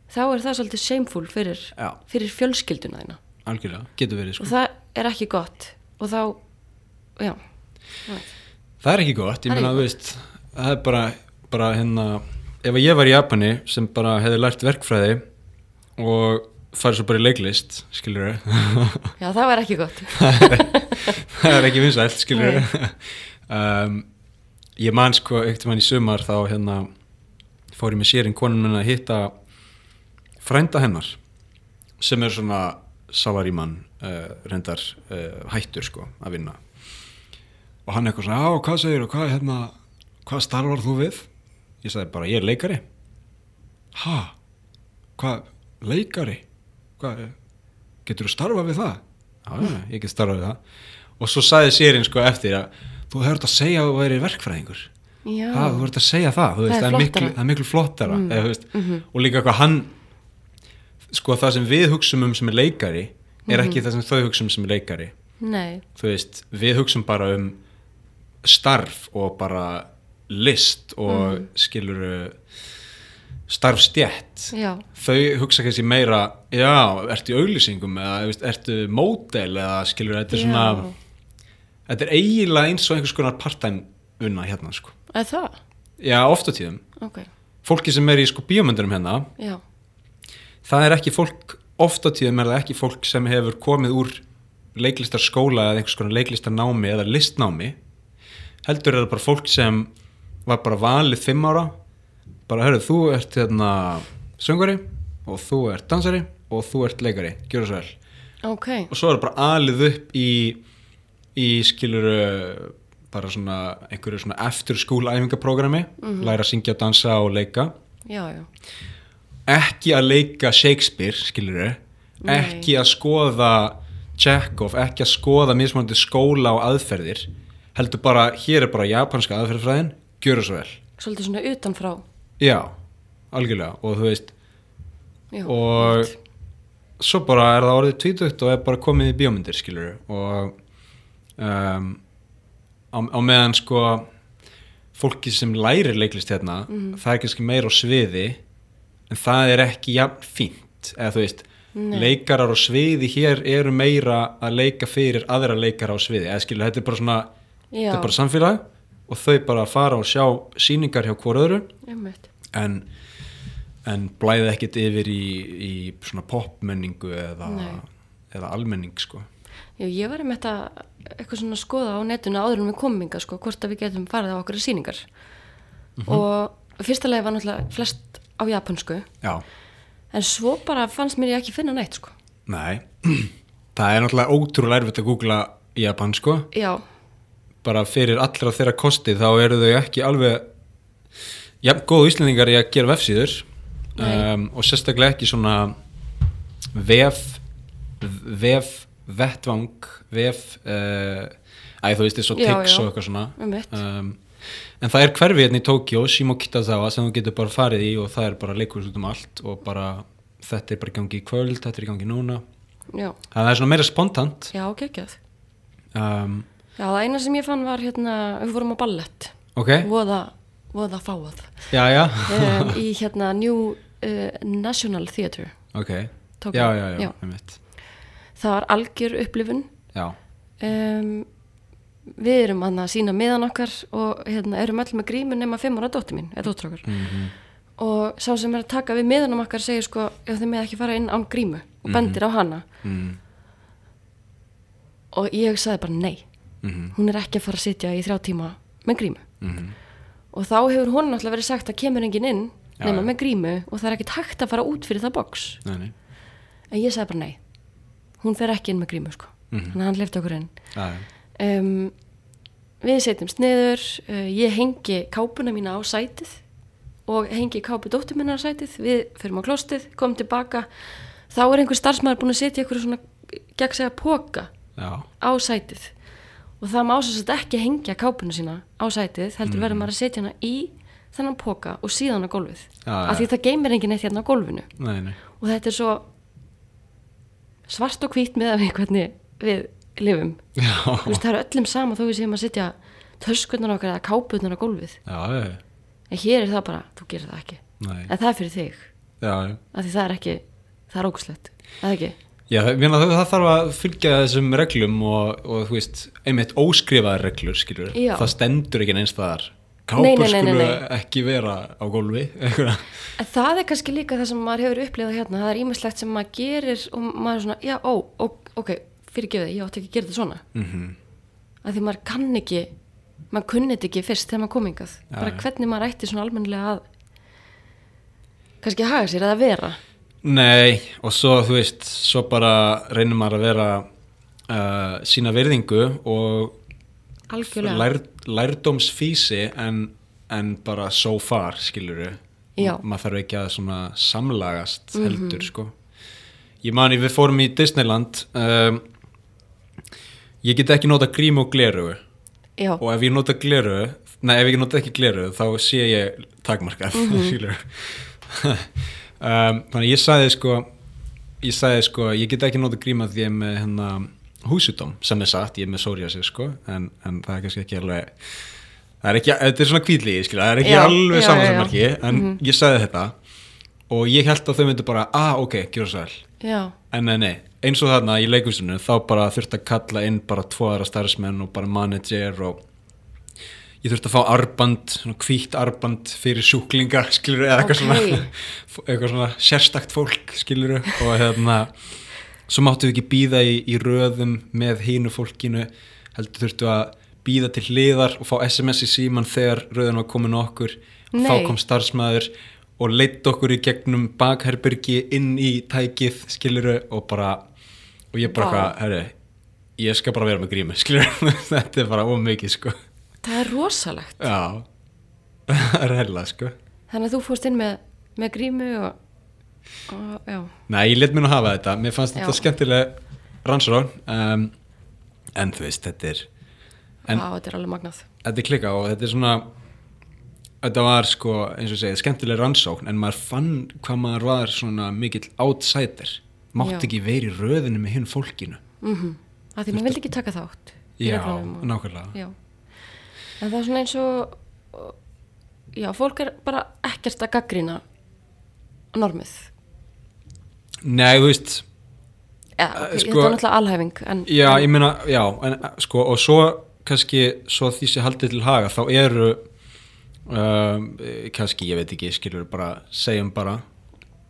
Speaker 2: þá er það svolítið shameful fyrir,
Speaker 1: Já.
Speaker 2: fyrir fjölskylduna þína
Speaker 1: algjörlega, getur verið, sko.
Speaker 2: og það er ekki gott og þá, já, já.
Speaker 1: Það er ekki gott, ég
Speaker 2: Það er
Speaker 1: meina
Speaker 2: ekki
Speaker 1: þú veist það er bara, bara hérna ef að ég var í Japani sem bara hefði lært verkfræði og farið svo bara í leiklist skilur
Speaker 2: já, það var ekki gott
Speaker 1: það er ekki vinsælt skilur um, ég man sko ekkert mann í sumar þá hérna fór ég með sérinn konun minna að hitta frænda hennar sem er svona salarímann uh, reyndar uh, hættur sko að vinna og hann eitthvað svona, já, hvað segir og hvað, hérna, hvað starfar þú við? Ég sagði bara, ég er leikari. Ha? Hvað, leikari? Hvað, getur þú starfað við það? Já, já, ég get starfað við það. Og svo sagði sérinn sko eftir að þú hefur þetta að segja að þú væri verkfræðingur.
Speaker 2: já,
Speaker 1: Ha, þú verður að segja það, þú veist,
Speaker 2: er
Speaker 1: það, er miklu, það er
Speaker 2: flottara. Mm. Mhm.
Speaker 1: miklu flottara eða, þú veist, og líka hvað hann sko það sem við hugsum um sem er leikari er ekki
Speaker 2: Mhm.
Speaker 1: það sem þau hugsum um sem er leikari
Speaker 2: nei,
Speaker 1: þú veist, við hugsum bara um starf og bara list og mm. skilur starfstjætt
Speaker 2: já
Speaker 1: þau hugsa kannski meira já, ertu í auglýsingum eða þú veist, ertu módel eða skilur þetta er svona,
Speaker 2: Já.
Speaker 1: þetta er eiginlega eins og einhvers konar part-time unna hérna sko,
Speaker 2: Eða það?
Speaker 1: já, oft á tíðum
Speaker 2: Ok,
Speaker 1: fólki sem er í sko bíómyndunum hérna
Speaker 2: já,
Speaker 1: það er ekki fólk, oft á tíðum er það ekki fólk sem hefur komið úr leiklistarskóla eða einhvers konar leiklistarnámi eða listnámi heldur er það bara fólk sem var bara valið fimm ára bara hörðu, þú ert hérna söngari og þú ert dansari og þú ert leikari, gjör það svo vel
Speaker 2: ok
Speaker 1: og svo er það bara alið upp í í skiluru bara svona einhverju svona eftir skúlæfingaprógrami læra að syngja, dansa og leika
Speaker 2: Já, já,
Speaker 1: ekki að leika Shakespeare, skilur þau
Speaker 2: Nei.
Speaker 1: ekki að skoða Chekhov, ekki að skoða mismunandi skóla og aðferðir heldur bara, hér er bara japanska aðferðfræðin gjöru svo vel,
Speaker 2: svolítið svona utanfrá
Speaker 1: já algjörlega, og þú veist
Speaker 2: já,
Speaker 1: og
Speaker 2: einmitt.
Speaker 1: svo bara er það orðið tvítugt og er bara komið í bíómyndir skilur og um, á, á meðan sko fólki sem lærir leiklist hérna
Speaker 2: Mhm.
Speaker 1: það er kannski meira á sviði en það er ekki jafn fínt eða þú veist,
Speaker 2: Nei.
Speaker 1: leikarar á sviði hér eru meira að leika fyrir aðra leikara á sviði eða skilur, þetta er bara svona
Speaker 2: Já.
Speaker 1: þetta er bara samfélag og þau bara fara og sjá sýningar hjá hvort öðru
Speaker 2: Einmitt.
Speaker 1: en, en blæði ekkert yfir í, í svona popmenningu eða,
Speaker 2: Nei.
Speaker 1: eða almenning sko.
Speaker 2: Já, ég var einmitt að eitthvað svona skoða á netinu áður en við komum inga sko, hvort að við getum farið á okkur sýningar og fyrsta lagi var náttúrulega flest á japansku
Speaker 1: Já,
Speaker 2: en svo bara fannst mér ég ekki finna neitt sko.
Speaker 1: nei það er náttúrulega ótrúlega erfitt að googla Japan sko,
Speaker 2: Já,
Speaker 1: bara fyrir allra þeirra kosti þá eru þau ekki alveg jafn góðu íslendingar í að gera vefsíður
Speaker 2: Nei.
Speaker 1: um, og sérstaklega ekki svona vef vef vettvang vef uh, æ, þú veist eins og
Speaker 2: Já,
Speaker 1: tix
Speaker 2: já.
Speaker 1: og eitthvað svona
Speaker 2: Einmitt.
Speaker 1: um, en það er hverfi hérna í Tókjó Shimokitazawa sem þú getur bara farið í og það er bara leikurhús út um allt og bara þetta er bara í gangi í kvöld, þetta er í gangi núna
Speaker 2: já,
Speaker 1: það er svona meira spontant
Speaker 2: já, geggjað
Speaker 1: um,
Speaker 2: Já, það eina sem ég fann var hérna, við fórum á ballett
Speaker 1: ok,
Speaker 2: voða, voða fáað
Speaker 1: já já
Speaker 2: Eh, um, í hérna New uh, National Theatre
Speaker 1: ok,
Speaker 2: Tókjó.
Speaker 1: já, já, já, já. einmitt
Speaker 2: það var algjör upplifun
Speaker 1: já,
Speaker 2: um, við erum hann að sína meðan okkar og hérna, erum öll með grímu nema fimm ára dóttir mín, eða dóttir okkar
Speaker 1: Mhm.
Speaker 2: og sá sem er að taka við meðanum okkar segir sko, ef þið með ekki fara inn án grímu og bendir á hana
Speaker 1: mm,
Speaker 2: og ég sagði bara nei
Speaker 1: Mhm.
Speaker 2: hún er ekki að fara að sitja í þrjá tíma með grímu
Speaker 1: mhm,
Speaker 2: og þá hefur hún náttúrulega verið sagt að kemur enginn inn
Speaker 1: Já,
Speaker 2: nema
Speaker 1: já.
Speaker 2: með grímu og það er ekkert hægt að fara út fyrir það box
Speaker 1: nei, nei
Speaker 2: en ég sagði bara nei hún fer ekki inn með grímu sko
Speaker 1: Mhm.
Speaker 2: þannig að hann lefði okkur inn
Speaker 1: já, já,
Speaker 2: um, við setjumst niður uh, ég hengi kápuna mína á sætið og hengi kápu dóttur minna á sætið við förum á klostið, komum tilbaka þá er einhver starfsmæður búin að setja einhverju svona gegn segja póka
Speaker 1: já,
Speaker 2: á sætið og það má svo sett ekki hengja kápuna sína á sætið heldur verður maður að setja hana í þennan poka og síðan á gólfið
Speaker 1: Já,
Speaker 2: af
Speaker 1: Ah, já.
Speaker 2: því það geymir enginn eitt hérna á gólfinu
Speaker 1: nei, nei
Speaker 2: og þetta er svo svart og hvít með að við hvernig við lifum
Speaker 1: já,
Speaker 2: Þú veist, það er öllum sama þó við séum að setja töskunnar okkar eða kápunar á gólfið
Speaker 1: já, já,
Speaker 2: en hér er það bara, þú gerir það ekki
Speaker 1: nei
Speaker 2: en það er fyrir þig,
Speaker 1: já, já
Speaker 2: af því það er ekki það er ógustlegt, það er ekki
Speaker 1: Já, það, mena, það, það þarf að fylgja þessum reglum og, og þú veist, einmitt óskrifaðar reglur, skilur.
Speaker 2: Já.
Speaker 1: Það stendur ekki neins þaðar.
Speaker 2: Nei,
Speaker 1: Kápur
Speaker 2: nei, nei, nei,
Speaker 1: skulu
Speaker 2: nei.
Speaker 1: ekki vera á gólfi, eitthvað.
Speaker 2: En það er kannski líka það sem maður hefur upplifað hérna, það er ímestlegt sem maður gerir og maður er svona, já, ó, ó ok, fyrirgefið, ég átti ekki að gera þetta svona.
Speaker 1: Mm -hmm.
Speaker 2: Af því maður kann ekki, maður kunni þetta ekki fyrst þegar maður kom hingað.
Speaker 1: Já,
Speaker 2: Bara
Speaker 1: já.
Speaker 2: hvernig maður ætti svona almennilega að kannski haga sér eða vera.
Speaker 1: Nei, og svo, þú veist, svo bara reynir maður að vera uh, sína virðingu og
Speaker 2: Algjörlega.
Speaker 1: lær, lærdómsfísi en, en bara so far, skilur.
Speaker 2: Já. Mhm.
Speaker 1: Maður þarf ekki að svona samlagast heldur, sko. Ég mani, við fórum í Disneyland um, Ég get ekki nota grím og gleru
Speaker 2: Já,
Speaker 1: og ef ég nota gleru nei, ef ég nota ekki gleru þá sé ég takmarkað mm
Speaker 2: Mhm.
Speaker 1: um, þannig að ég sagði sko ég sagði sko, ég get ekki nota gríma því ég er með hérna húsutóm sem er satt, ég er með psoriasis sko en, en það er kannski ekki alveg það er ekki, þetta er svona kvíðlíði skilja, það er ekki
Speaker 2: Já,
Speaker 1: alveg
Speaker 2: já, já, Mhm. já.
Speaker 1: samansammarki en ég sagði þetta og ég held að þau myndu bara, ah ok, gjör svo vel
Speaker 2: já,
Speaker 1: En nei, nei, eins og þarna í leikusinu þá bara þurfti að kalla inn bara tvo aðra starfsmenn og bara manager og ég þurfti að fá arband, svona hvítt arband fyrir sjúklinga, skilur, eða eitthvað
Speaker 2: Ókei.
Speaker 1: svona eitthvað svona sérstakt fólk, skilur, og hérna svo máttu við ekki býða í, í röðum með hínu fólkinu heldur þurftu að býða til hliðar og fá SMS í síman þegar röðin var komin á okkur og þá
Speaker 2: Nei.
Speaker 1: kom starfsmæður og leitt okkur í gegnum bakherbyrgi inn í tækið, skiluru, og bara og ég bara
Speaker 2: Vá.
Speaker 1: hvað, herri ég skal bara vera með grímu, skiluru þetta er bara ómikið, sko
Speaker 2: það er rosalegt.
Speaker 1: já, það er hella, sko
Speaker 2: Þannig að þú fórst inn með, með grímu og, og já,
Speaker 1: nei, ég let mér nú hafa þetta, mér fannst
Speaker 2: Já.
Speaker 1: þetta skemmtilega rannsrón um, en þú veist, þetta er En-
Speaker 2: Vá, þetta er alveg magnað.
Speaker 1: þetta er klika og þetta er svona þetta var sko, eins og ég segi, skemmtileg rannsókn en maður fann hvað maður var svona mikill outsider mátt
Speaker 2: Já.
Speaker 1: ekki verið í röðinu með hinn fólkinu
Speaker 2: Mm Af því maður vildi ekki taka þátt. í
Speaker 1: já,
Speaker 2: reglunum og-
Speaker 1: nákvæmlega
Speaker 2: Já. En það er svona eins og já, fólk er bara ekkert að gaggrina normið.
Speaker 1: nei, þú veist,
Speaker 2: Ja,
Speaker 1: Eh,
Speaker 2: okay,
Speaker 1: sko-
Speaker 2: þetta er náttúrulega alhæfing en,
Speaker 1: já,
Speaker 2: en,
Speaker 1: ég meina já, en, sko, og svo kannski svo því sé haldið til haga, þá eru um, kannski, ég veit ekki, skilur bara, segjum bara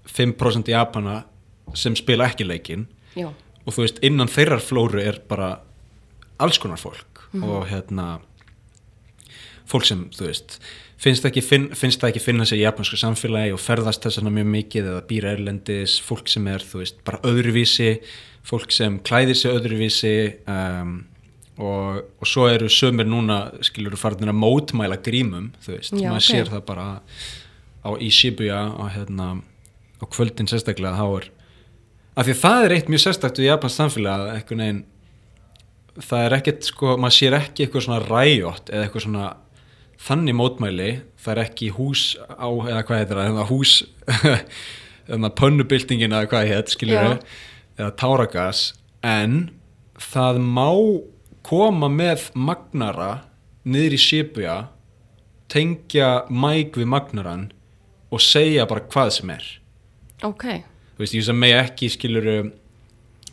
Speaker 1: 5% Japana sem spila ekki leikinn
Speaker 2: já,
Speaker 1: og þú veist innan þeirrar flóru er bara alls konar fólk
Speaker 2: Mhm.
Speaker 1: og hérna fólk sem þú veist finnst, ekki, finn, finnst það ekki finna sér í japansku samfélagi og ferðast þess vegna mjög mikið eða býra erlendis, fólk sem er þú veist bara öðruvísi, fólk sem klæðir sér öðruvísi um, og, og svo eru sömur núna skilur þú farnir að mótmæla grímum þú veist,
Speaker 2: Já,
Speaker 1: maður
Speaker 2: ok.
Speaker 1: sér það bara á í Shibuya og hérna á kvöldin sérstaklega þá er af því að það er eitt mjög sérstakt við Japans samfélag að einhvern veginn það er ekkert sko, maður sér ekki eitthvað svona ræjótt eða eitthvað svona þannig mótmæli, það er ekki hús á, eða hvað heitir það, hérna hús hérna pönnubildingin eða hvað heit, skilur
Speaker 2: Já.
Speaker 1: eða táragas, en það má koma með magnara niður í Shibuya tengja mæk við magnaran og segja bara hvað sem er
Speaker 2: ok,
Speaker 1: þú veist, ég sem megi ekki skilur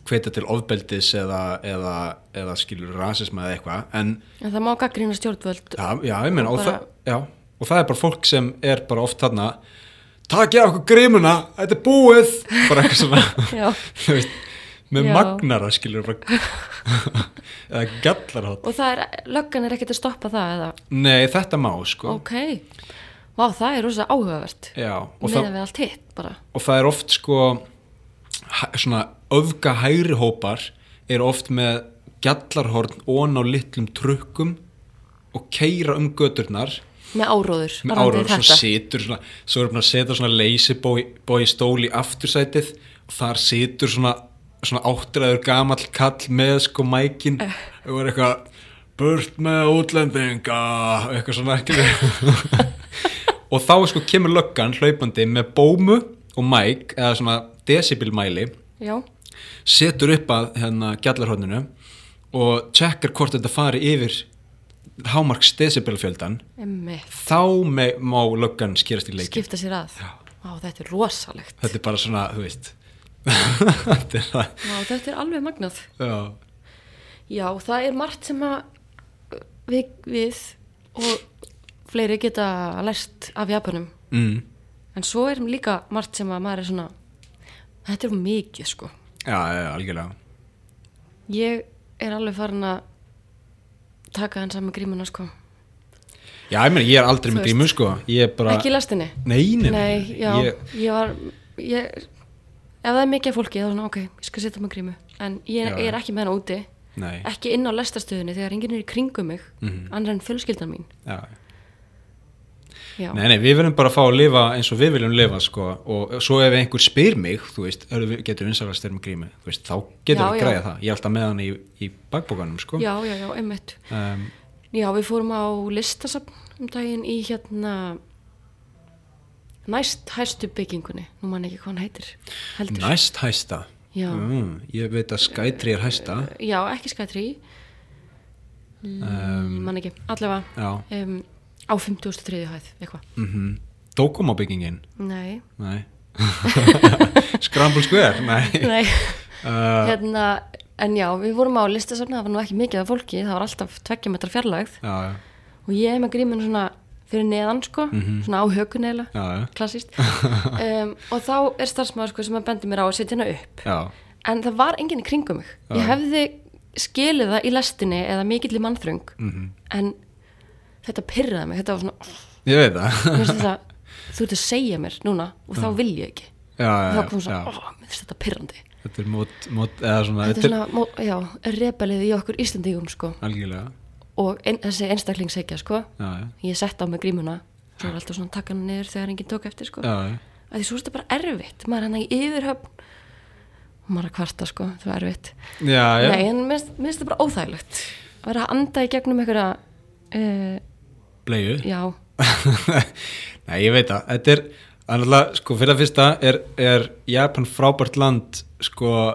Speaker 1: hvetja til ofbeldis eða, eða, eða skilur rasisma eða eitthvað en
Speaker 2: en það má gaggrina stjórnvöld
Speaker 1: já, já, ég meina, og,
Speaker 2: Og bara-
Speaker 1: það, já, og það er bara fólk sem er bara oft þarna takja okkur grímuna, þetta er búið bara eitthvað svona
Speaker 2: já,
Speaker 1: þú veist, með
Speaker 2: Já.
Speaker 1: magnara skilur bara eða gallarhátt
Speaker 2: og það er, löggan er ekkert að stoppa það eða,
Speaker 1: nei, þetta má sko
Speaker 2: ok vá, það er rosa áhugavert
Speaker 1: já, og,
Speaker 2: meðan
Speaker 1: það,
Speaker 2: við allt hitt bara
Speaker 1: og það er oft sko hæ- svona öfga hægri hópar eru oft með gjallarhorn ón á litlum trukkum og keira um göturnar
Speaker 2: með áróður,
Speaker 1: með
Speaker 2: varðandi
Speaker 1: áraður, svo situr svona, svo erum við að setja svona leysibói stóli í aftursætið og þar situr svona, svona áttræður gamall kall með sko mækin og er eitthvað burt með útlendinga eitthvað svona ekki og þá sko kemur löggan hlaupandi með bómu og mæk eða svona decibelmæli
Speaker 2: já,
Speaker 1: setur upp að hérna gjallarhóðninu og tjekkar hvort þetta fari yfir hámarks decibelfjöldan
Speaker 2: emmi,
Speaker 1: þá me- má löggan skýrast í leikin
Speaker 2: skipta sér að vá, þetta er rosalegt
Speaker 1: þetta er bara svona, þú veist þetta er það
Speaker 2: vá, þetta er alveg magnað
Speaker 1: já,
Speaker 2: já, það er margt sem að uh, við, við og fleiri geta lært af Japanum
Speaker 1: mm.
Speaker 2: en svo er líka margt sem að maður er svona þetta er mikið sko
Speaker 1: já, já, algjörlega
Speaker 2: ég er alveg farin að taka hann saman grímuna sko
Speaker 1: já, ég meina, ég er aldrei
Speaker 2: Þú
Speaker 1: með
Speaker 2: veist.
Speaker 1: grímu, sko ég er bara,
Speaker 2: ekki lastinni
Speaker 1: nei, nei,
Speaker 2: nei, já,
Speaker 1: ég,
Speaker 2: ég var ég, ef það er mikið af fólki þá er svona ok, ég skal setja mig grímu en ég,
Speaker 1: Já,
Speaker 2: ég
Speaker 1: já.
Speaker 2: er ekki með hana úti
Speaker 1: nei,
Speaker 2: ekki inn á lestarstöðunni þegar enginn er í kringum mig
Speaker 1: Mhm.
Speaker 2: annar en fjölskyldan mín
Speaker 1: já
Speaker 2: já,
Speaker 1: Nei, nei, við verðum bara að fá að lifa eins og við viljum lifa, sko, og svo ef einhver spyr mig, þú veist, "Hörðu, við- getur vinsælast þeir með grími, þú veist, þá getur
Speaker 2: Já,
Speaker 1: við
Speaker 2: já.
Speaker 1: græða það, ég er alltaf með hann í, í bakbókanum, sko.
Speaker 2: já, já, já, einmitt
Speaker 1: Um,
Speaker 2: já, við fórum á listasafn um daginn í hérna næst hæstu byggingunni nú man ég ekki hvað hann heitir heldur
Speaker 1: næst hæsta,
Speaker 2: Já.
Speaker 1: Mm, ég veit að skætri er hæsta,
Speaker 2: Já, ekki skætri um, Mann ekki, allavega
Speaker 1: já,
Speaker 2: um, Á 53. hæð, eitthvað
Speaker 1: mm -hmm. Dókomabyggingin?
Speaker 2: Nei,
Speaker 1: Nei Scramble Square? Nei
Speaker 2: nei
Speaker 1: uh,
Speaker 2: Hérna, en já, við vorum á listasafna Það var nú ekki mikið af fólki, það var alltaf tveggja metra fjarlægð
Speaker 1: Já, já,
Speaker 2: Og ég er með gríminu svona fyrir neðan sko Svona á hökun eiginlega,
Speaker 1: Mhm. já, já,
Speaker 2: klassíst um, Og þá er starfsmaður sko sem að bendi mér á að setja hana upp
Speaker 1: já
Speaker 2: En það var enginn í kringum mig Ég hefði skilið það í lestinni eða mikill í mannþröng
Speaker 1: Mhm.
Speaker 2: En þetta pyrraði mig, þetta var svona
Speaker 1: Ég veit það
Speaker 2: Mér finnst þetta, þú ert að segja mér núna og þá vil ég ekki
Speaker 1: Já,
Speaker 2: og
Speaker 1: já,
Speaker 2: þá
Speaker 1: já,
Speaker 2: kom svona,
Speaker 1: já.
Speaker 2: ó, mér finnst þetta pirrandi
Speaker 1: Þetta er mót, mót eða svona,
Speaker 2: þetta er svona, mó- já, rebelið í okkur Íslandingum sko
Speaker 1: algjörlega
Speaker 2: og ein, þessi einstaklingsegja sko
Speaker 1: Já, já,
Speaker 2: ég sett á mig grímuna svo er alltaf svona takkan niður þegar enginn tók eftir sko
Speaker 1: já, já
Speaker 2: að því svo er þetta bara erfitt, maður er hann í yfirhöfn og maður er að kvarta sko, það var erfitt
Speaker 1: Já, já,
Speaker 2: nei, en mér finnst- mér finnst þetta bara óþægilegt að vera að anda í gegnum einhverja uh,
Speaker 1: bleiðu
Speaker 2: já,
Speaker 1: Nei, ég veit það Þetta er, annarlega, sko, fyrir að fyrsta er, er Japan frábært land sko,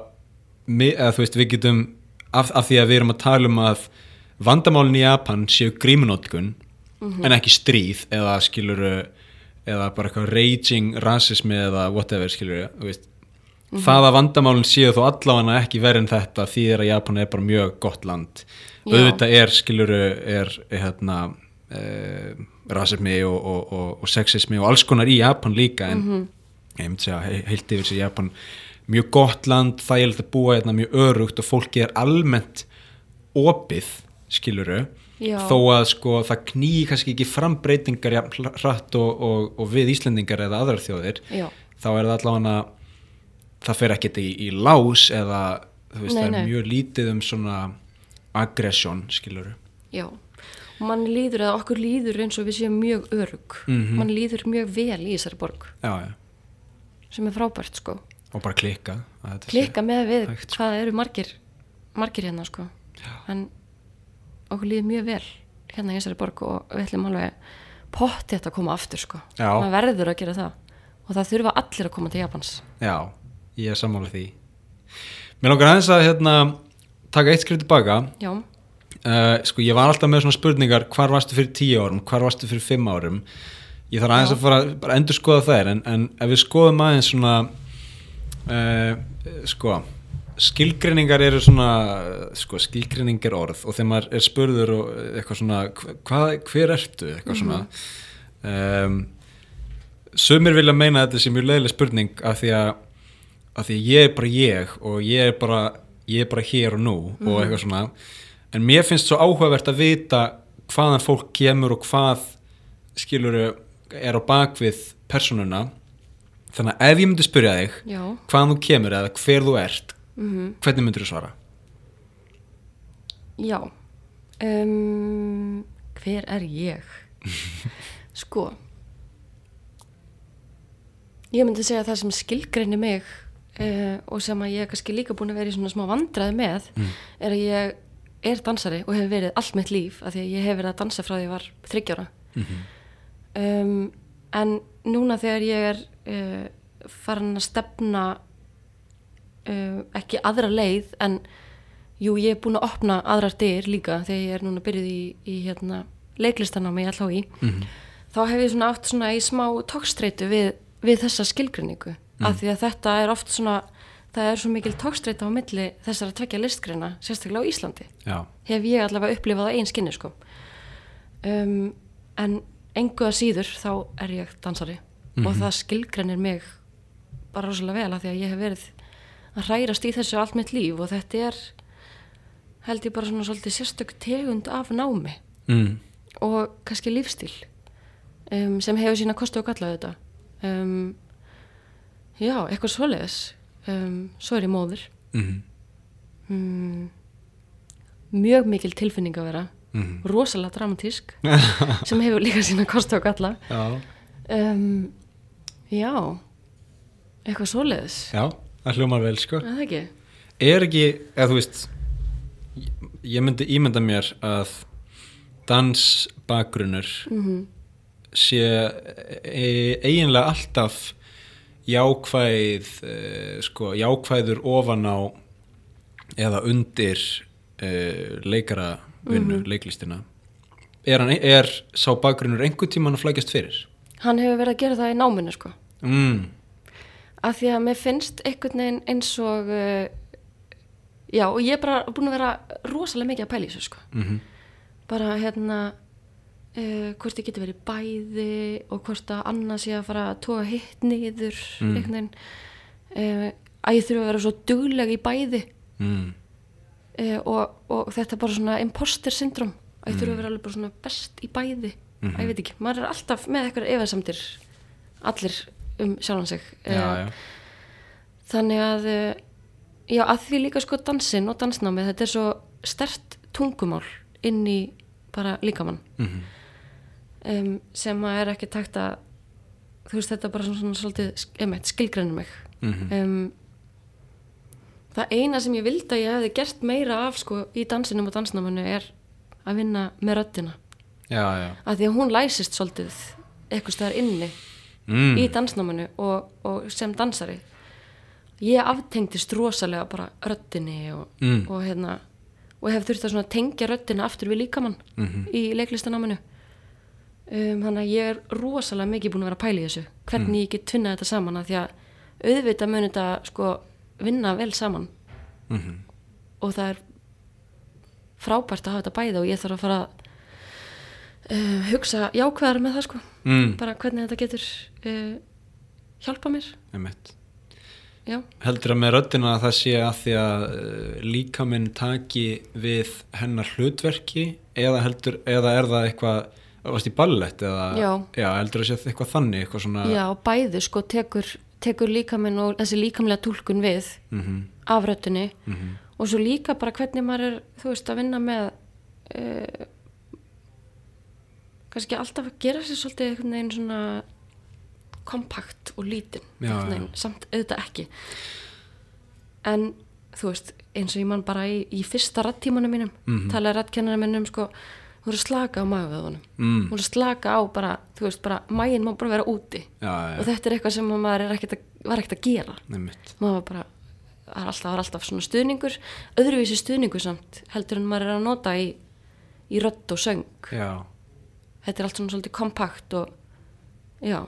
Speaker 1: mi, eða þú veist, við getum af, af því að við erum að tala um að vandamálin í Japan séu grímunótkun en ekki stríð eða skilur eða bara eitthvað raging rasismi eða whatever skilur þú veist Það að vandamálinn séu þó allavega ekki verið en þetta því er að Japan er bara mjög gott land
Speaker 2: Já.
Speaker 1: auðvitað er skiluru er er, hérna e, rasismi og, og, og, og sexismi og alls konar í Japan líka en ég myndi segja he- heilt yfir sér Japan mjög gott land, þægilegt að búa hérna mjög örugt og fólki er almennt opið skiluru
Speaker 2: Já.
Speaker 1: þó að sko það knýi kannski ekki frambreytingar jafn hratt og, og, og við Íslendingar eða aðrar þjóðir
Speaker 2: já
Speaker 1: þá er það allavega það fer ekkert í, í lás eða þú veist,
Speaker 2: Nei,
Speaker 1: það er
Speaker 2: nei.
Speaker 1: mjög lítið um svona aggression, skilur
Speaker 2: Já, og mann líður eða okkur líður eins og við séum mjög örug
Speaker 1: Mhm.
Speaker 2: mann líður mjög vel í þessari borg
Speaker 1: já, já,
Speaker 2: sem er frábært sko
Speaker 1: og bara klikka að þetta sé-
Speaker 2: klikka með við
Speaker 1: hægt, sko.
Speaker 2: hvað eru margir margir hérna sko en okkur líður mjög vel hérna í þessari borg og við ætlum alveg potti þetta að koma aftur sko
Speaker 1: Já.
Speaker 2: maður verður að gera það og það þurfa allir að koma til Japans
Speaker 1: já, ég er sammála því mér langar aðeins að hérna, taka eitt skrif tilbaka
Speaker 2: Já,
Speaker 1: uh, sko ég var alltaf með svona spurningar hvar varstu fyrir tíu árum, hvar varstu fyrir fimm árum ég þarf aðeins
Speaker 2: Já.
Speaker 1: að fara bara endur skoða þær en, en ef við skoðum aðeins svona uh, sko skilgreiningar eru svona sko, skilgreiningar orð og þegar maður er spurður og eitthvað svona hva, hvað- hver ertu eitthvað svona um, sumir vilja meina að þetta sem mjög leiðileg spurning af því að af því að ég er bara ég og ég er bara, ég er bara hér og nú og eitthvað svona en mér finnst svo áhugavert að vita hvaðan fólk kemur og hvað skilur er á bakvið personuna þannig að ef ég myndi spyrja þig
Speaker 2: Já,
Speaker 1: hvaðan þú kemur eða hver þú ert
Speaker 2: mm
Speaker 1: hvernig myndir þú svara?
Speaker 2: já. Um, hver er ég? Sko, ég myndi segja það sem skilgreinir mig uh, og sem að ég er kannski líka búin að vera í svona smá vandræði með er að ég er dansari og hefur verið allt mitt líf af því að ég hef verið að dansa frá því ég var þryggjára.
Speaker 1: Mhm.
Speaker 2: um, en núna þegar ég er uh, farin að stefna uh, ekki aðra leið en jú ég er búin að opna aðrar dyr líka þegar ég er núna byrjuð í, í hérna, leiklistana með ég allá í
Speaker 1: Mhm.
Speaker 2: þá hef ég svona átt svona í smá tókstreitu við, við þessa skilgrinningu af því að þetta er oft svona það er svo mikil tókstreita á milli þessara tvekja listgreina, sérstaklega á Íslandi
Speaker 1: Já,
Speaker 2: hef ég allavega upplifað á einn skinni sko um, en engu að síður þá er ég dansari og það skilgreinir mig bara rosalega vel af því að ég hef verið að hrærast í þessu allt mitt líf og þetta er held ég bara svona svolítið sérstök tegund af námi
Speaker 1: mm.
Speaker 2: og kannski lífstíl um, sem hefur sína kosti og galla þetta um, já, eitthvað svoleiðis um, svo er ég móður
Speaker 1: Mm.
Speaker 2: mm, mjög mikil tilfinning að vera
Speaker 1: Mhm.
Speaker 2: rosalega dramatísk sem hefur líka sína kosti og galla
Speaker 1: Já.
Speaker 2: um, já eitthvað svoleiðis
Speaker 1: Já, það hljómar vel sko
Speaker 2: er það ekki?
Speaker 1: er ekki, eða þú veist ég- ég myndi ímynda mér að dansbakgrunnur
Speaker 2: Mhm.
Speaker 1: sé e, eiginlega alltaf jákvæð e, sko, jákvæður ofan á eða undir e, leikara
Speaker 2: Mhm.
Speaker 1: vinnu, leiklistina er, hann, e, er sá bakgrunnur einhvern tímann að flækjast fyrir?
Speaker 2: hann hefur verið að gera það í náminu sko
Speaker 1: Mm,
Speaker 2: af því að mér finnst einhvern veginn eins og uh, já og ég er bara búin að vera rosalega mikið að pæla í þessu sko
Speaker 1: mm
Speaker 2: bara hérna uh, hvort þið getur verið bæði og hvort að annað sé að fara að toga hitt niður
Speaker 1: Mm.
Speaker 2: einhvern veginn uh, að ég þurfa að vera svo dugleg í bæði
Speaker 1: mm,
Speaker 2: uh, og, og þetta er bara svona imposter syndrom að ég þurfa að vera alveg bara svona best í bæði mm
Speaker 1: Mm. Mhm.
Speaker 2: ég veit ekki, maður er alltaf með eitthvað efasamdir allir um sjálfan sig
Speaker 1: já, já,
Speaker 2: þannig að eh, já, að því líka sko dansinn og dansnámið þetta er svo stert tungumál inn í bara líkamann
Speaker 1: mm
Speaker 2: um, sem að er ekki takt að þú veist þetta er bara svona, svona svolítið emett, skilgrænir mig
Speaker 1: Mhm.
Speaker 2: um, það eina sem ég vildi að ég hefði gert meira af sko í dansinum og dansnáminu er að vinna með röddina
Speaker 1: já, já.
Speaker 2: að því að hún læsist svolítið eitthvað staðar inni
Speaker 1: Mm.
Speaker 2: í dansnáminu og, og sem dansari ég aftengdist rosalega bara röddinni og,
Speaker 1: Mm.
Speaker 2: og hérna og hef þurft að svona tengja röddina aftur við líkamann
Speaker 1: Mhm.
Speaker 2: í leiklistanáminu um, þannig að ég er rosalega mikið búin að vera að pæla í þessu hvernig ég get tvinna þetta saman að því að auðvitað mun þetta sko vinna vel saman
Speaker 1: Mm
Speaker 2: mhm. og það er frábært að hafa þetta bæði og ég þarf að fara að uh, hugsa jákvæðar með það sko
Speaker 1: mm.
Speaker 2: bara hvernig þetta getur uh, hjálpa mér
Speaker 1: Einmitt.
Speaker 2: já,
Speaker 1: Heldur að með röddina að það sé að því að eh, líkaminn taki við hennar hlutverki eða, heldur, eða er það eitthvað, varst í ballett eða
Speaker 2: Já.
Speaker 1: heldur að sé það eitthvað þannig, eitthvað svona
Speaker 2: já bæði sko tekur, tekur líkaminn og þessi líkamlega tólkun við
Speaker 1: Mhm,
Speaker 2: af röttinni
Speaker 1: mhm,
Speaker 2: og svo líka bara hvernig maður er þú veist að vinna með uh, kannski alltaf að gera sér svolítið einhvern veginn svona kompakt og lítinn
Speaker 1: Já,
Speaker 2: einhvern veginn, samt auðvitað ekki en þú veist eins og ég man bara í, í fyrsta rattímanum mínum
Speaker 1: Mhm.
Speaker 2: talaði rattkennara mínum sko hún er að slaka á magveðunum
Speaker 1: mm,
Speaker 2: hún er að slaka á bara, þú veist, bara maginn má bara vera úti
Speaker 1: já,
Speaker 2: og
Speaker 1: já,
Speaker 2: þetta er eitthvað sem að maður er ekkert að, var ekkert að gera
Speaker 1: einmitt,
Speaker 2: maður var bara, það er alltaf, það er alltaf svona stuðningur öðruvísi stuðningur samt heldur en maður er að nota í, í rödd og söng
Speaker 1: já,
Speaker 2: þetta er allt svona svolítið kompakt og já,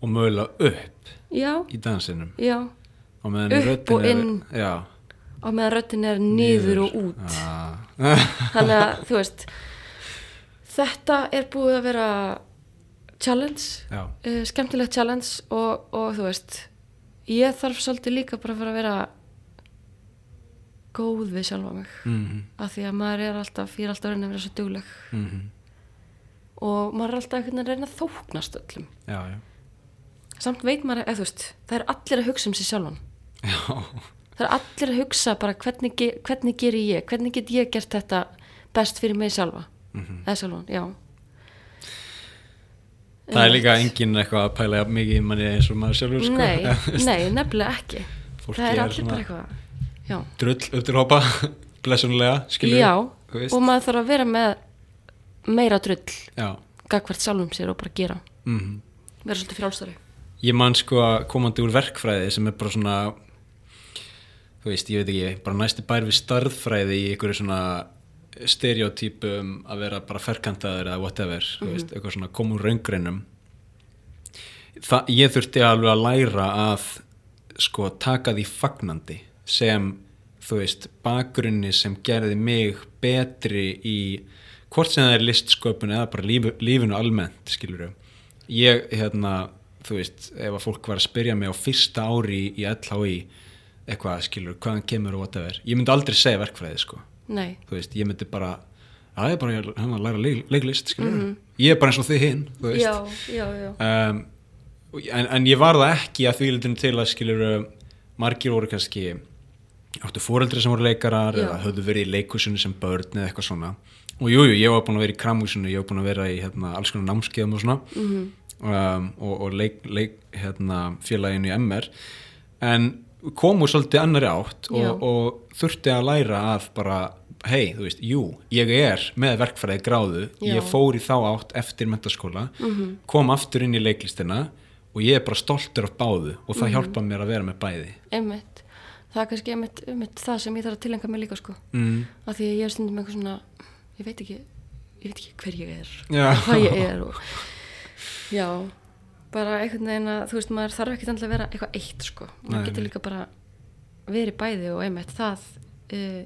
Speaker 1: og mögulega upp
Speaker 2: já,
Speaker 1: í dansinum,
Speaker 2: já
Speaker 1: Og meðan í
Speaker 2: Upp og
Speaker 1: röddinni er-
Speaker 2: inn.
Speaker 1: Já
Speaker 2: og meðan röddin er niður og út
Speaker 1: Já.
Speaker 2: þannig að þú veist þetta er búið að vera challenge
Speaker 1: Já.
Speaker 2: uh, skemmtilegt challenge og, og þú veist ég þarf svolítið líka bara að fara að vera góð við sjálfa mig
Speaker 1: Mhm.
Speaker 2: af því að maður er alltaf, ég er alltaf að reyna að vera svo dugleg
Speaker 1: Mhm.
Speaker 2: og maður er alltaf einhvern veginn að reyna að þóknast öllum
Speaker 1: Já, já
Speaker 2: samt veit maður, eða þú veist það er allir að hugsa um sig sjálfan
Speaker 1: Já,
Speaker 2: það er allir að hugsa bara hvernig, ge- hvernig gerir ég, hvernig get ég gert þetta best fyrir mig sjálfa
Speaker 1: Mhm.
Speaker 2: eða sjálfan, já
Speaker 1: það er líka enginn eitthvað að pæla jafn mikið í manni eins og maður sjálfur sko.
Speaker 2: nei,
Speaker 1: Já, þú veist.
Speaker 2: nei, nefnilega ekki
Speaker 1: Fólki
Speaker 2: það er
Speaker 1: er
Speaker 2: allir
Speaker 1: svona-
Speaker 2: bara eitthvað já,
Speaker 1: drull upp til hópa blessunlega, skilur
Speaker 2: já
Speaker 1: þú veist.
Speaker 2: og maður þarf að vera með meira drull
Speaker 1: já,
Speaker 2: gagvart sjálfum sér og bara gera
Speaker 1: mhm.
Speaker 2: vera svolítið frjálstari
Speaker 1: ég man sko að komandi úr verkfræði sem er bara svona þú veist, ég veit ekki, bara næsti bær við starðfræði í einhverju svona stereotypum að vera bara ferkantaður eða whatever,
Speaker 2: Mhm.
Speaker 1: þú veist, eitthvað svona koma úr raungreinum Þa, ég þurfti alveg að læra að sko taka því fagnandi sem þú veist bakgrunni sem gerði mig betri í hvort sem það er listsköpun eða bara líf, lífinu almennt skilur ég hérna þú veist ef að fólk var að spyrja mig á fyrsta ári í LHI eitthvað skilur hvaðan kemur og whatever ég myndi aldrei segja verkfræði sko
Speaker 2: nei,
Speaker 1: þú veist ég myndi bara að ég er bara hérna að læra leik, leiklist skilur ég er bara eins og þið hinn þú veist
Speaker 2: já, já, já
Speaker 1: um, en, en ég var það ekki að því lítinu til að skilur margir voru kannski áttu fóreldri sem voru leikarar
Speaker 2: Já.
Speaker 1: eða höfðu verið í leikúsinu sem börn eða eitthvað svona og jújú, jú, ég var búin að vera í kramúsinu ég var búin að vera í hérna, alls konar námskeiðum og svona
Speaker 2: Mhm.
Speaker 1: um, og, og leik, leik hérna, félaginu í MR en komu svolítið annari átt
Speaker 2: Já.
Speaker 1: og, og þurfti að læra að bara hei, þú veist, jú, ég er með verkfræði gráðu,
Speaker 2: Já. Mhm.
Speaker 1: ég fór í þá átt eftir mentaskóla, kom aftur inn í leiklistina og ég er bara stoltur af báðu og
Speaker 2: Mhm.
Speaker 1: það hjálpa mér að vera með bæði
Speaker 2: einmitt, það er kannski einmitt, einmitt það sem ég þarf að tilengja mig líka sko
Speaker 1: mm.
Speaker 2: af því að ég er stundum með eitthvað svona ég veit ekki, ég veit ekki hver ég er
Speaker 1: Já.
Speaker 2: og hvað ég er og, já, bara einhvern veginn að þú veist, maður þarf ekkert endilega að vera eitthvað eitt sko,
Speaker 1: Nei,
Speaker 2: maður getur
Speaker 1: nei.
Speaker 2: líka bara verið bæði og einmitt það uh,